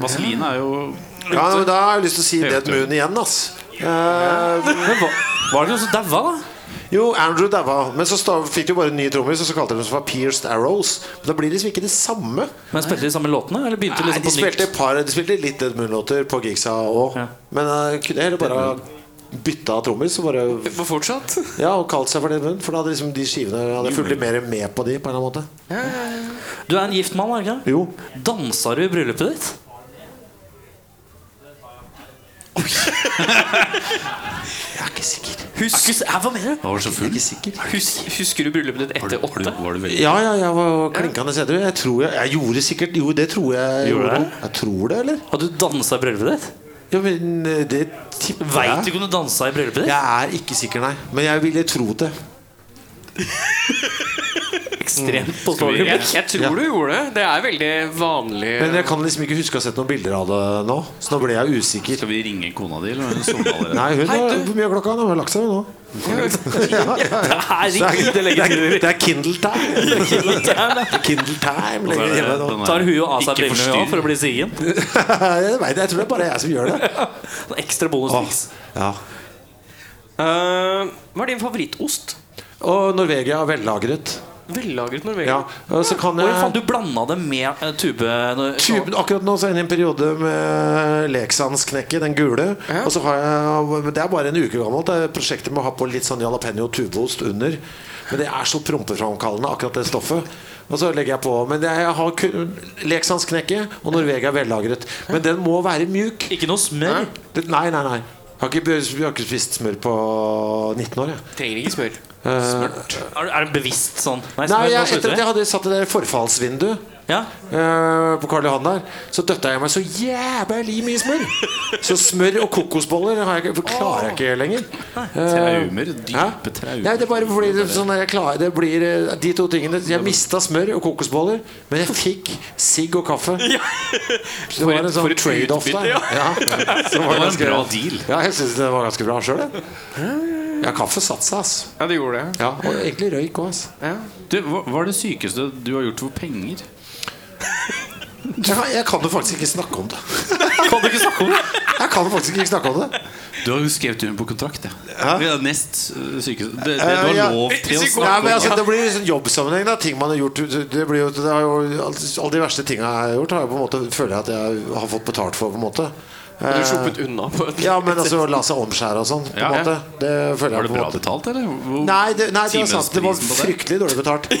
Vaseline er jo
Ja, men da har jeg lyst til å si Dead Moon igjen, ass. Eh,
Men hva, var det ikke noen som daua, da?
jo, Andrew daua, men så sta- fikk de jo bare en ny trommis, og så kalte de dem for Pierced Arrows. Men da blir det liksom ikke det samme.
Men spilte de samme låtene? Eller begynte
Nei,
liksom
de,
på nytt?
spilte et par, de spilte litt Dead Moon-låter på gigsa òg,
Ja.
men jeg kunne heller bare ha bytta trommis og bare
på fortsatt.
Ja, og kalt seg for Dead Moon, for da hadde liksom de skivene jeg hadde fulgt litt mer med på de på en eller annen måte.
Du er en gift mann, er du ikke?
Jo.
det? Dansa du i bryllupet ditt?
Jeg er ikke sikker.
Husk Hæ, eh, Hva mener du?
Var du så full?
Hus, husker du bryllupet ditt
Var du,
etter
var du,
åtte?
var du veldig
Ja, ja, jeg var klinkende edru. Jeg tror jeg, jeg gjorde sikkert Jo, det tror jeg
Gjorde
gjorde.
det?
Jeg tror det, eller?
Har du dansa i bryllupet ditt?
Ja, men eh, det tipper
Veit du
jeg.
ikke om du dansa i bryllupet ditt?
Jeg er ikke sikker, nei. Men jeg ville tro det.
Ekstremt
Jeg,
påståelig.
jeg tror du gjorde det. Det er veldig vanlig.
Men jeg kan liksom ikke huske å ha sett noen bilder av det nå, så nå ble jeg usikker.
Skal vi ringe kona di, eller har hun sovna allerede?
Nei, hun
Hei,
har
du.
Hvor mye er klokka? Hun har lagt seg nå.
*laughs* Herregud, det legger til
Det er Kindle time. Kindle time
Så
legger
er det
hjemme nå. *laughs*
den der,
Tar hun av seg
ikke
brillene
forstyrr.
også for å bli sigen?
Jeg vet det, jeg tror det er bare jeg som gjør det.
Noen Ekstra bonusfiks.
Ja.
Eh, hva er din favorittost?
Og Norvegia er vellagret.
Vellagret
Ja.
norveger.
Og så kan
Oi, faen,
jeg
du blanda det med eh, tube når-
Typen, akkurat nå så er jeg inne i en periode med leksandsknekket, den gule.
Ja.
Og så har jeg, men Det er bare en uke gammelt. Det er prosjektet med å ha på litt sånn jalapeño tubeost under. Men det er så prompeframkallende, akkurat det stoffet. Og så legger jeg på. Men det er, jeg har kun leksandsknekket og Norvegia er vellagret. Men den må være mjuk.
sånn- Ikke noe smør.
Det, nei, nei, nei. Jeg har ikke, jeg har ikke spist smør på 19 år, jeg.
Trenger ikke smør.
Er, du- er det bevisst sånn?
Nei,
smør, nå
jeg,
slutter
etter at
vi.
jeg hadde satt det der forfallsvinduet
Ja.
eh, på Karl Johan der, så døtta jeg meg så jævlig mye smør. Så smør og kokosboller har jeg, ikke- klarer jeg ikke lenger.
Traumer?
Hæ?
Dype
Nei,
traumer?
det er bare fordi det, er sånn der jeg klarer, det blir eh, de to tingene. Jeg mista smør og kokosboller, men jeg fikk sigg og kaffe. Så det var en sånn trade-off der. Ja. Så
Det
var
var en
ganske-
bra deal.
Ja, jeg syns det var ganske bra sjøl, jeg. Ja, kaffe satte seg, ass.
Ja, det gjorde det.
Ja, og egentlig røyk altså. òg, ass.
Ja.
Du, hva, hva er det sykeste du har gjort for penger?
Jeg kan, jeg kan jo faktisk ikke snakke om det.
Kan du ikke snakke om det?
Jeg kan faktisk ikke snakke om det.
Du har jo skrevet under på kontrakt, ja. Det er nest øh, sykeste Det, det
Eh,
du
ja.
har lov til å
Psyko-
Nei,
snakke
men altså,
om.
det blir liksom jobbsammenheng. Da. Ting man har gjort det blir jo, det har jo, Alle de verste tinga jeg har gjort, har jeg på en måte, føler jeg at jeg har fått betalt for. på en måte
Du
Eh,
har sluppet unna på et
Ja, men altså la seg omskjære og sånn. På en
Ja, ja.
måte Det føler jeg
Var det
på en
bra
måte
betalt, eller? Hvor-
Nei, det, nei, det er sant. Det var
timesprisen på det?
fryktelig dårlig *laughs* betalt.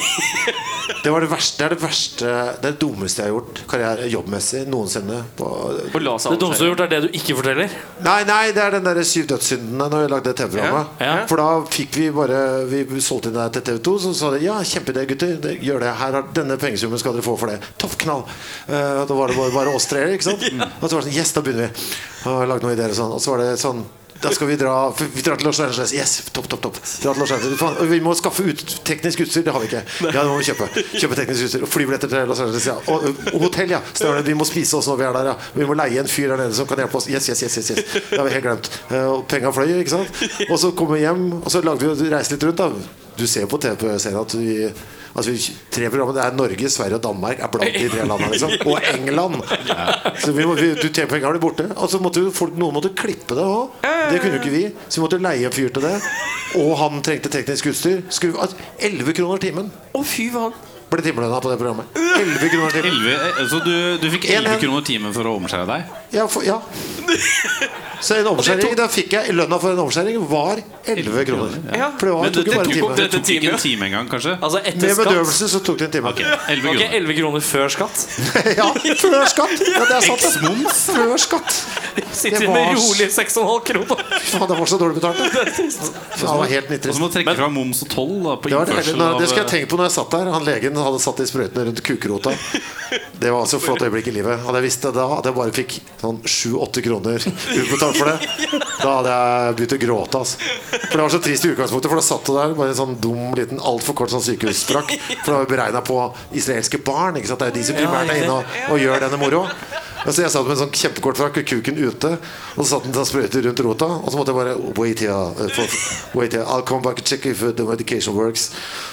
Det var det verste, det er det verste Det er det dummeste jeg har gjort karriere, jobbmessig noensinne. På,
Å la seg
Det dummeste du
omskjære.
har gjort, er det du ikke forteller.
Nei, nei, det er den der syv dødssyndene Når vi lagde det TV-programmet
Ja, ja.
For da fikk vi bare Vi solgte inn det til TV 2 Så sa de, ja, kjempeidé gutter det, Gjør det, her har denne pengesummen skal dere få for det Topp knall Eh, Da var det bare, bare oss tre,
*laughs*
ikke sant? Og så var det sånn, yes, da begynner vi Og lagde noen ideer og sånn Og så var det sånn da skal vi dra for Vi drar til Los Angeles. Yes, topp, topp, topp. Dra til Los Angeles. Faen, Vi må skaffe ut teknisk utstyr. Det har vi ikke. Ja, det må vi kjøpe. Kjøpe teknisk utstyr. Og flybilletter til Los Angeles. Ja. Og, og hotell, ja. Stemmer det. Vi må spise oss når vi er der, ja. Vi må leie en fyr der nede som kan hjelpe oss. Yes, yes, yes. yes, yes. Det har vi helt glemt. Eh, Og penga fløy, ikke sant. Og så kom vi hjem, og så lagde vi og reiste litt rundt, da. Du ser jo på TV-serien at vi Altså, vi, tre programmer, Det er Norge, Sverige og Danmark er blant de tre landene.
*laughs*
Liksom. Og England! Så vi, må- vi, du tjener penger, blir borte. Og så måtte jo folk, noen måtte klippe det òg. Det kunne jo ikke vi. Så vi måtte leie en fyr til det. Og han trengte teknisk utstyr. Skru, at 11 kroner timen
Å, fy faen. Øh.
ble timelønna på det programmet. 11 kroner timen
11, eh, så du, du fikk
En-
11 kroner timen for å omskjære deg?
Ja, for, ja. Så
*laughs*
en omskjæring,
tok-
da fikk jeg lønna for en omskjæring var 11 kroner.
Ja.
For det, var,
Men
tok
det,
jo bare en
tok,
time.
det tok ikke en time engang, kanskje?
Altså etter
Med
skatt.
bedøvelse så tok det en time.
11
Var ikke
kroner.
11 kroner før
*laughs*
skatt?
Ja, før skatt! Ja, det er sant. det. Før skatt.
Sitter
Det
med
var-
rolig 6,5 kroner.
Faen, det var så dårlig betalt. *laughs* det. Ja, det var helt
Og så må
nitrist.
du trekke fra moms og toll da, på
Det, var det,
innførsel
Nei, det skal jeg
av eh,
tenke på når jeg satt der. Han legen hadde satt de sprøytene rundt kukrota. Det var altså et flott øyeblikk i livet. Hadde jeg visst det da, at jeg bare fikk sånn 7-8 kroner utbetalt for det, da hadde jeg begynt å gråte. Altså. For det var så trist i utgangspunktet, for da satt du der bare i en sånn dum liten altfor kort sånn sykehusfrakk. For det var jo beregna på israelske barn. Ikke sant? Det er jo de som primært er inne og, og gjør denne moroa. Ja, Så jeg satt med en sånn kjempekort frakk og kuken ute, og så satt den sånn sprøyte rundt rota. Og så måtte jeg bare Wait here. uh, for, wait here. I'll come back and check if uh, the medication works.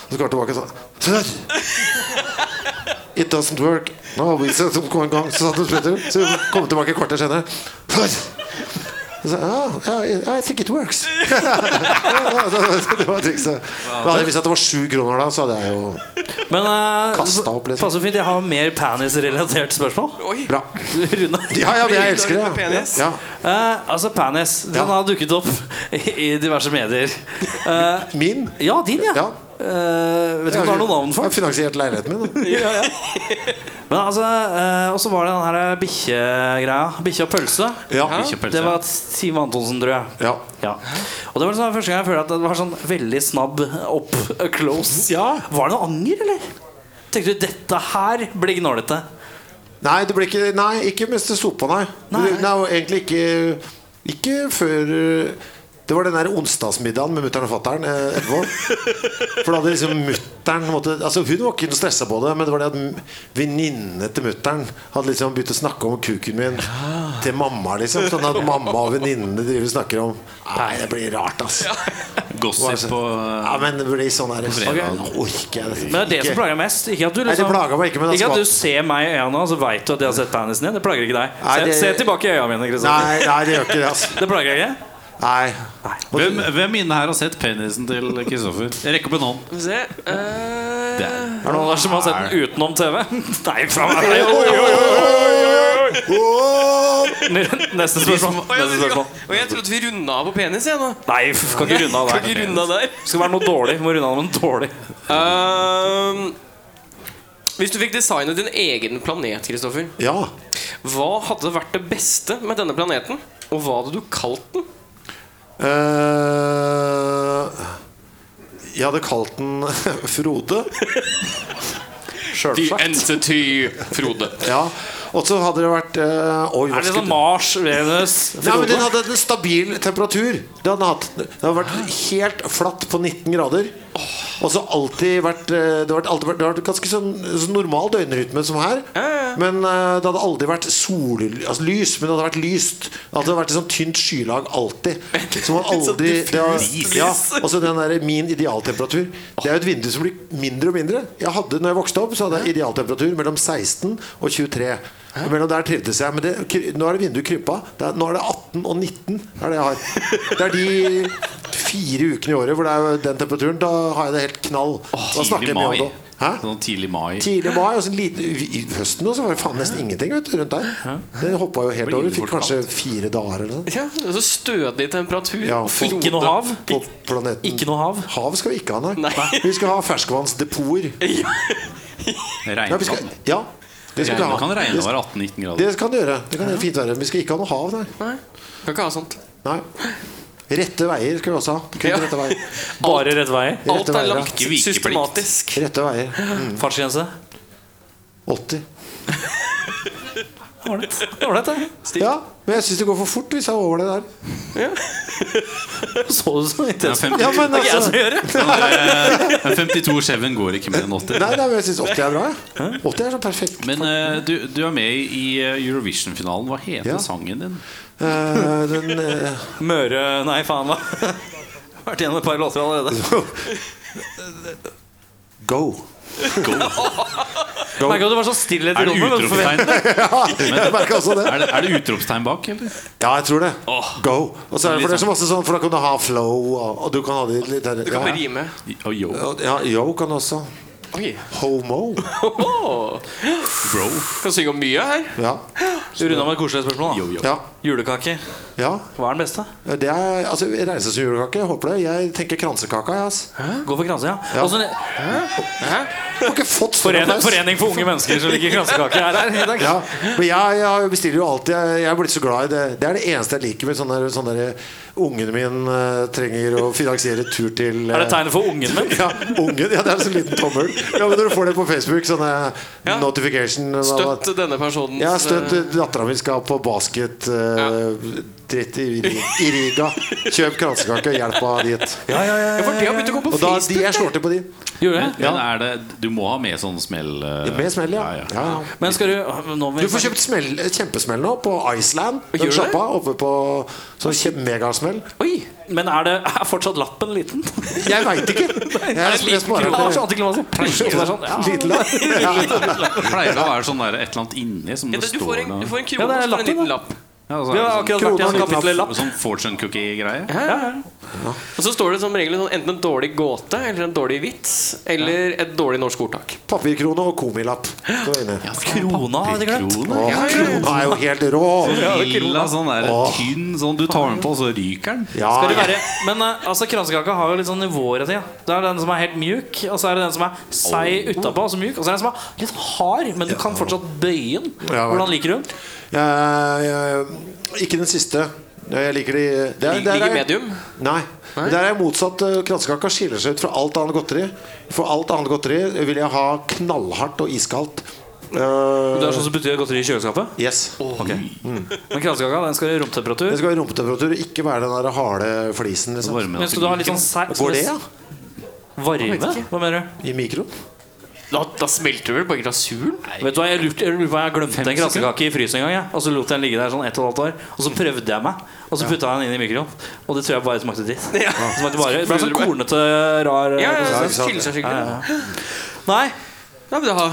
Og så går jeg tilbake og sånn Sir! It doesn't work. No, we said to go en gang. Så satt den sprøyte rundt. Så kom jeg tilbake et kvarter senere. Sir! Og Så, oh, I, I think it works. *laughs* Ja, så det var trikset. Da hadde jeg visst at det var sju kroner da, så hadde jeg jo
Men eh,
Kasta
så-
opp, liksom.
passer fint, jeg har mer penis-relatert spørsmål.
Oi.
Bra.
*laughs* Rune.
Ja, ja, men jeg elsker det. Ja.
Penis.
Ja.
Eh, altså, penis. Den
Ja.
har dukket opp *laughs* i, i diverse medier. Eh,
Min?
ja, din, ja.
Ja.
Eh, vet ikke om du har noe navn for
Jeg har finansiert leiligheten min. da.
*laughs* Men altså, eh, Og så var det den her bikkjegreia. Bikkje og pølse.
Ja.
Det var Siv Antonsen, tror jeg.
Ja.
Og det var sånn, første gang jeg følte at det var sånn veldig snabb up close. Var det noe anger, eller? Tenkte du dette her blir gnålete?
Nei, det ble ikke Nei, ikke mens det sto på, nei.
Nei.
Det- Nei, og egentlig ikke Ikke før eh, Det var den der onsdagsmiddagen med mutter'n og fatter'n eh, etterpå. For da hadde liksom mutteren måtte, Altså Hun var ikke noe stressa på det, men det var det at m- venninnene til mutter'n hadde liksom begynt å snakke om kuken min til mamma, liksom. Sånn at mamma og venninnene driver og snakker om Nei, det blir rart, ass.
gossip og eh,
Ja, men det blir sånn her
fredag.
Nå orker jeg dette.
Men det er det som
Ikke-
plager meg mest. Ikke at du,
Nei, det
liksom,
plager meg ikke, men det er
ikke at
smart.
du ser meg i øynene og så vet du at jeg har sett penisen din. Det plager ikke deg.
Nei,
Se,
det-
se tilbake i øynene mine. Kristian.
Nei, nei, det gjør ikke det, ass.
*laughs* Det plager jeg ikke.
Nei.
hvem, hvem inne her har sett penisen til
*laughs*
Kristoffer? Rekk opp en hånd.
Skal vi se eh,
Er
Der.
det noen der som har sett den utenom TV? *laughs* Nei, fra meg. Nei, oi, oi, oi. *laughs* Neste spørsmål.
Å, ja,
Neste
men-
spørsmål.
Å, jeg trodde vi runda av på penis, jeg nå.
Nei, f- kan ikke runde av
Kan
der.
ikke runde av der.
Det skal være noe dårlig. Må runde av med noe dårlig.
Ehm, hvis du fikk designet din egen planet, Kristoffer,
Ja.
hva hadde vært det beste med denne planeten? Og hva hadde du kalt den?
Eh, jeg hadde kalt den *laughs* Frode. Sjølsagt.
Entity Frode.
Ja. Og så hadde det vært eh, Oi, hva
Er det
skulle
sånn Mars, Venus
Nei, men Den hadde en stabil temperatur. Det hadde, den hatt, det hadde vært helt flatt på 19 grader. Og så alltid vært eh, Det har vært- alltid vært, det har vært ganske sånn, sånn normal døgnrytme som her. Men eh, det hadde aldri vært sollys, altså lys, men det hadde vært lyst. Det hadde vært et sånt tynt skylag alltid. Som man aldri det har, ja, Og så Altså, den der min idealtemperatur. Det er jo et vindu som blir mindre og mindre. Jeg hadde, når jeg vokste opp, så hadde jeg idealtemperatur mellom 16 og 23. Og mellom der trivdes jeg. Men det, kry- nå er det vinduet krypa. Det er, nå er det 18 og 19. Det er det jeg har. Det er de fire ukene i året hvor det er den temperaturen. Da har jeg det helt knall. Da snakker
Tidlig
jeg mye om
mai.
det. Hæ?
Sånn tidlig mai.
Tidlig mai og så en liten, i i høsten også, var det faen nesten ingenting vet, du, rundt der. Det hoppa jo helt over. Fikk kanskje fire dager eller noe.
Ja, det er så Altså, stødig temperatur.
Ja.
Frode.
Ikke noe hav?
På planeten.
Ikke noe hav?
Hav skal vi ikke ha, nei.
Nei.
Vi skal ha
*laughs*
ferskvannsdepoter. Ja, vi skal,
Regnvann.
ja, det skal vi
Det
ha.
kan regne å
Det,
være 18-19 grader.
det kan det gjøre. Det kan gjøre fint være. Men vi skal ikke ha noe hav, nei.
Nei, kan ikke ha sånt.
nei. Rette veier skal vi også ha. Kun
Ja.
rette veier.
Bare rett vei?
Alt
Rette
er
veier, ja.
lagt
Ikke vikeplikt.
systematisk.
Rette veier.
Fartsgrense?
80.
Ålreit, Ålreit, det.
Ja, men jeg syns det går for fort hvis jeg er over det der.
Så du så
Ja,
intenst ut?
50,
Ja,
*laughs*
*laughs*
men
Jeg
altså
som gjør det.
ja, 52 Cheven går ikke mer enn 80.
Nei, nei, men jeg syns 80 er bra. Jeg. 80 er så perfekt.
Men eh, du, du er med i eh, Eurovision-finalen. Hva heter
Ja.
sangen din?
Eh, den eh,
*laughs* Møre Nei, faen, hva? Vært gjennom et par låter allerede.
Go.
Merka at du var så stille i
Er det
rommet. men for-
utropstegn?
*laughs* Jeg merka også det.
Er det, er det utropstegn bak, eller?
Ja, jeg tror det. Go. Og så er det, for det er så masse sånn, for da kan du ha flow, og, og du kan ha de litt der,
Kan
ja.
rime.
Oh, yo,
ja, yo kan også.
Oi.
Homo.
Åh,
bro.
Kan synge om mye her.
Ja.
Du runda med et koselig spørsmål. da
Jo, jo.
Ja,
Julekake.
ja.
Hva er den beste?
Det er altså, reise som julekake. jeg Håper det. Jeg tenker kransekaka. Jeg, ass. Jeg
Gå for kranse, ja.
Ja.
Også, en-
har ikke fått sånn
forening,
applaus.
forening for unge mennesker som liker kransekake. Er her. i dag.
Ja, men jeg, jeg bestiller jo alltid Jeg, jeg er blitt så glad i det Det er det eneste jeg liker med sånne, sånne der, Ungene mine eh, trenger å finansiere tur til eh,
Er det tegnet for ungen min?
Ja, ungen, ja, det er en sånn liten tommel Ja, men når du får det på Facebook Sånne
Ja.
notification hva- hva-
Støtt denne personens
Ja, støtt
eh,
datteren min skal på basket eh, Dritt i, i Riga Kjøp kransekake, hjelp henne dit
Ja, for det har begynt å gå på
Og da, de,
Facebook.
jeg slår til på de
Gjorde jeg?
Men er det, du må ha med sånn smell? eh,
Med smell, ja,
ja.
ja, ja.
Men skal du nå vil
Du får kjøpt smell, kjempesmell nå på Iceland. Den
Gjør du det?
sjappa oppe på sånn kjem- megasmell.
Oi! Men er, det, er fortsatt lappen liten?
Jeg veit ikke. Jeg, jeg, jeg
Det
sparer
var så
det.
antiklimaks. Og det er sånn, ja.
Liten lapp. *laughs* Ja.
Pleier det å være sånn der, et eller annet inni som
Ja,
det
du, får
står
en, du
noe-
får en
Ja,
krone
det er
for en liten
lappen,
lapp.
Ja, så
Vi har
er det
akkurat vært gjennom
Krone-
kapitlet lapp.
sånn, sånn fortune cookie-greie.
Og så står det som regel noe- enten en dårlig gåte eller en dårlig vits eller et dårlig norsk ordtak.
Papirkrone og komilapp. Det var inne.
Altså,
Krona, har de glemt.
Krone.
Å, Krona er jo helt rå!
Lilla, sånn der,
Åh.
tynn, sånn du tar den på, så ryker den.
Ja,
Skal det
Ah, ja.
være, men eh, altså, kransekaka har jo litt sånn nivåer i det. Det er den som er helt mjuk, og så er det den som er
Oh.
seig utapå og så mjuk. Og så er det den som er litt hard, men du kan fortsatt bøye den.
Ja, vel.
Hvordan liker du den?
Jeg- jeg- Ikke den siste. Jeg liker de det er- det er-
Ligger medium.
Nei. Men Der er jeg motsatt. Eh, Kransekaka skiller seg ut fra alt annet godteri. For alt annet godteri vil jeg ha knallhardt og iskaldt. Eh,
Det er sånn som betyr godteri i kjøleskapet.
yes.
Men kransekaka den skal i romtemperatur.
Det skal være romtemperatur, ikke være den der harde flisen. Liksom.
Varme
Men skal du ha litt sånn seig
Går det, ja?
Varme? Hva mener du?
I mikroen?
Da, da smelter du vel på grasuren?
Vet du hva, Jeg lurte jeg lurer på om jeg glemte en
sekunder.
kransekake i frysen en gang. Jeg. Og så lot jeg den ligge der sånn ett og et halvt år.
Mm.
Og så prøvde jeg meg, og så putta jeg den inn i mikroen. Og det tror jeg bare smakte dritt. Det smakte bare, det ble sånn kornete, rar eh,
Ja, ja,
ikke
det
sant.
skiller seg skikkelig. Ja,
Nei.
men da er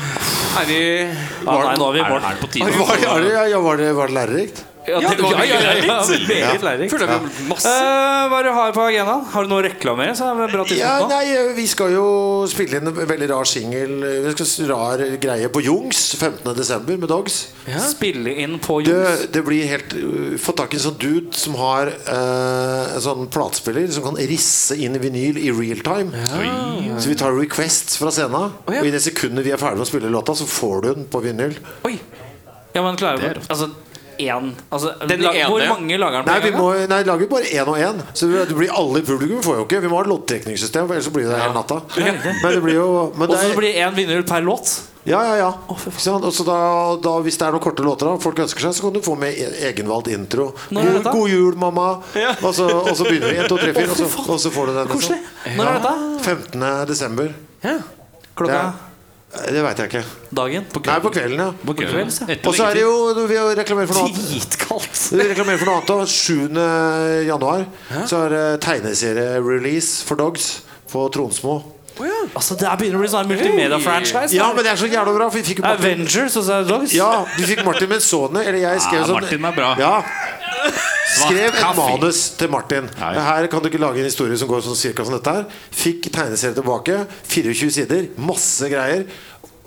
vi
Ja, nei, nå er vi i
Er,
mål.
er det på tide?
Var det, var det, ja, var det, var det lærerikt?
Ja, det,
det var
ja, ja, ja, ja,
lærerikt.
Meget lærerikt.
Føler jeg vi masse
Eh, hva er det du har på agendaen? Har du noe å reklamere? Så er det bra
Ja,
tidspunkt nå.
nei, eh, Vi skal jo spille inn en veldig rar singel eh, Vi skal s- rar greie på Jungs 15.12. med Dogs.
Spille inn på Jons.
Det, det blir helt uh, Få tak i en sånn dude som har eh, en sånn platespiller som kan risse inn vinyl i real time. Så vi tar requests fra scenen,
ja.
og i det sekundet vi er ferdig med å spille låta, så får du den på vinyl.
Oi!
Ja, men klarer vi Altså, én altså,
Den
la-
ene,
Hvor
ja.
mange lager den på
Nei,
en
vi
gang?
må, nei, lager bare én og én. Så det blir alle i publikum får jo ikke. Vi må ha et loddtrekningssystem, for ellers så blir det hele natta. Men det blir jo men
Og
det
så
er,
blir det én vinner per låt?
Ja, ja, ja. Ikke sant? Og så da, da, hvis det er noen korte låter da, folk ønsker seg, så kan du få med e- egenvalgt intro.
Når er
God,
dette?
god jul, mamma. Og, så, og så begynner vi. 1, 2, 3, 4, og så, og så får du den.
Koselig.
Liksom.
Når er dette?
15. desember. Det,
Klokka?
er- det veit jeg ikke.
Dagen? På
Nei, på kvelden, ja.
På kvelden?
kvelds, ja.
Etter
Og så er det jo du vil jo reklamere for noe annet.
Dritkaldt.
Vi reklamerer for noe annet også. 7. januar så er det tegneserie-release for Dogs på Tronsmo.
Altså, det her begynner å bli sånn her multimedia-franchise.
Ja, men det er så jævla bra! for Vi fikk Martin,
Avengers og så er det Dogs.
ja, vi fikk Martin Menzone, eller jeg skrev
Ja,
sånn
Martin er bra.
Ja. Skrev et
kaffe.
manus til Martin.
Nei.
Her kan du ikke lage en historie som går sånn cirka som dette her. Fikk tegneserie tilbake. 24 sider. Masse greier.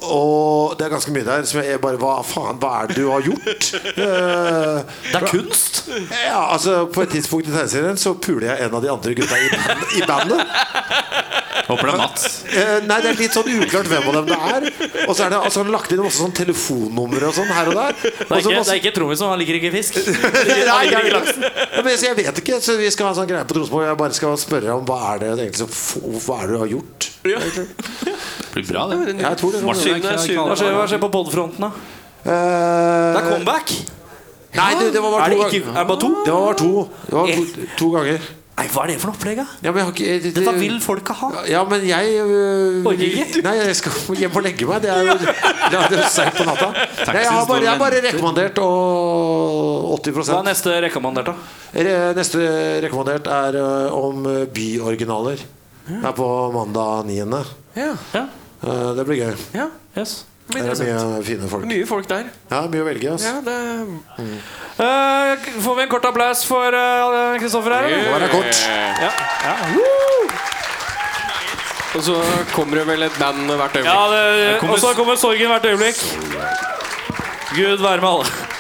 Og det er ganske mye der som jeg bare Hva faen, hva er det du har gjort?
*laughs*
Eh,
Det er kunst.
Ja, altså På et tidspunkt i tegneserien så puler jeg en av de andre gutta i, band, i bandet.
Håper det er Mats.
Eh, nei, Det er litt sånn uklart hvem av dem det er. Og så er det altså, han lagt inn masse sånn telefonnumre og sånn her og der.
Det er
Og så
ikke, det
masse,
er ikke Trommisen, han liker ikke *laughs* fisk.
nei, jeg, ja, men, så jeg vet ikke, så vi skal ha en sånn greie på Tromsø. hvor Jeg bare skal spørre om hva er det egentlig som f- Hva er det du har gjort?
Det blir bra, det.
Jeg tror det.
Martin er
Syvende,
ikke-
syvende.
Hva skjer, hva skjer på podfronten, da?
Eh,
Det er comeback.
nei, du, det var
Er
bare
det
to
ikke-
ganger.
er det bare to? Eh.
Det var bare to. Det var to, to ganger.
Nei, hva er det for noe opplegg, da?
Ja, men jeg har ikke det-
Dette vil folket ha.
Ja, men jeg øh,
Orker ikke?
Nei, jeg skal *laughs* hjem og legge meg. Det er jo *laughs* det er jo seint på natta. Nei, jeg, har bare, jeg har bare rekommandert og 80
Hva er neste rekommandert, da?
Re- Neste rekommandert er øh, om øh, byoriginaler. Det er på mandag 9.
Ja,
Ja.
Eh, Det blir gøy.
ja.
Yes.
Det
Det
blir
er
interessant.
mye fine folk.
Mye folk der.
Ja, mye å velge i.
Ja,
ass.
det
Eh, får vi en kort applaus for eh, Kristoffer her, eller?
Det var da
Eh,
kort.
Og så kommer det vel et band hvert øyeblikk.
Ja, det, og så kommer sorgen hvert øyeblikk. Gud være med alle.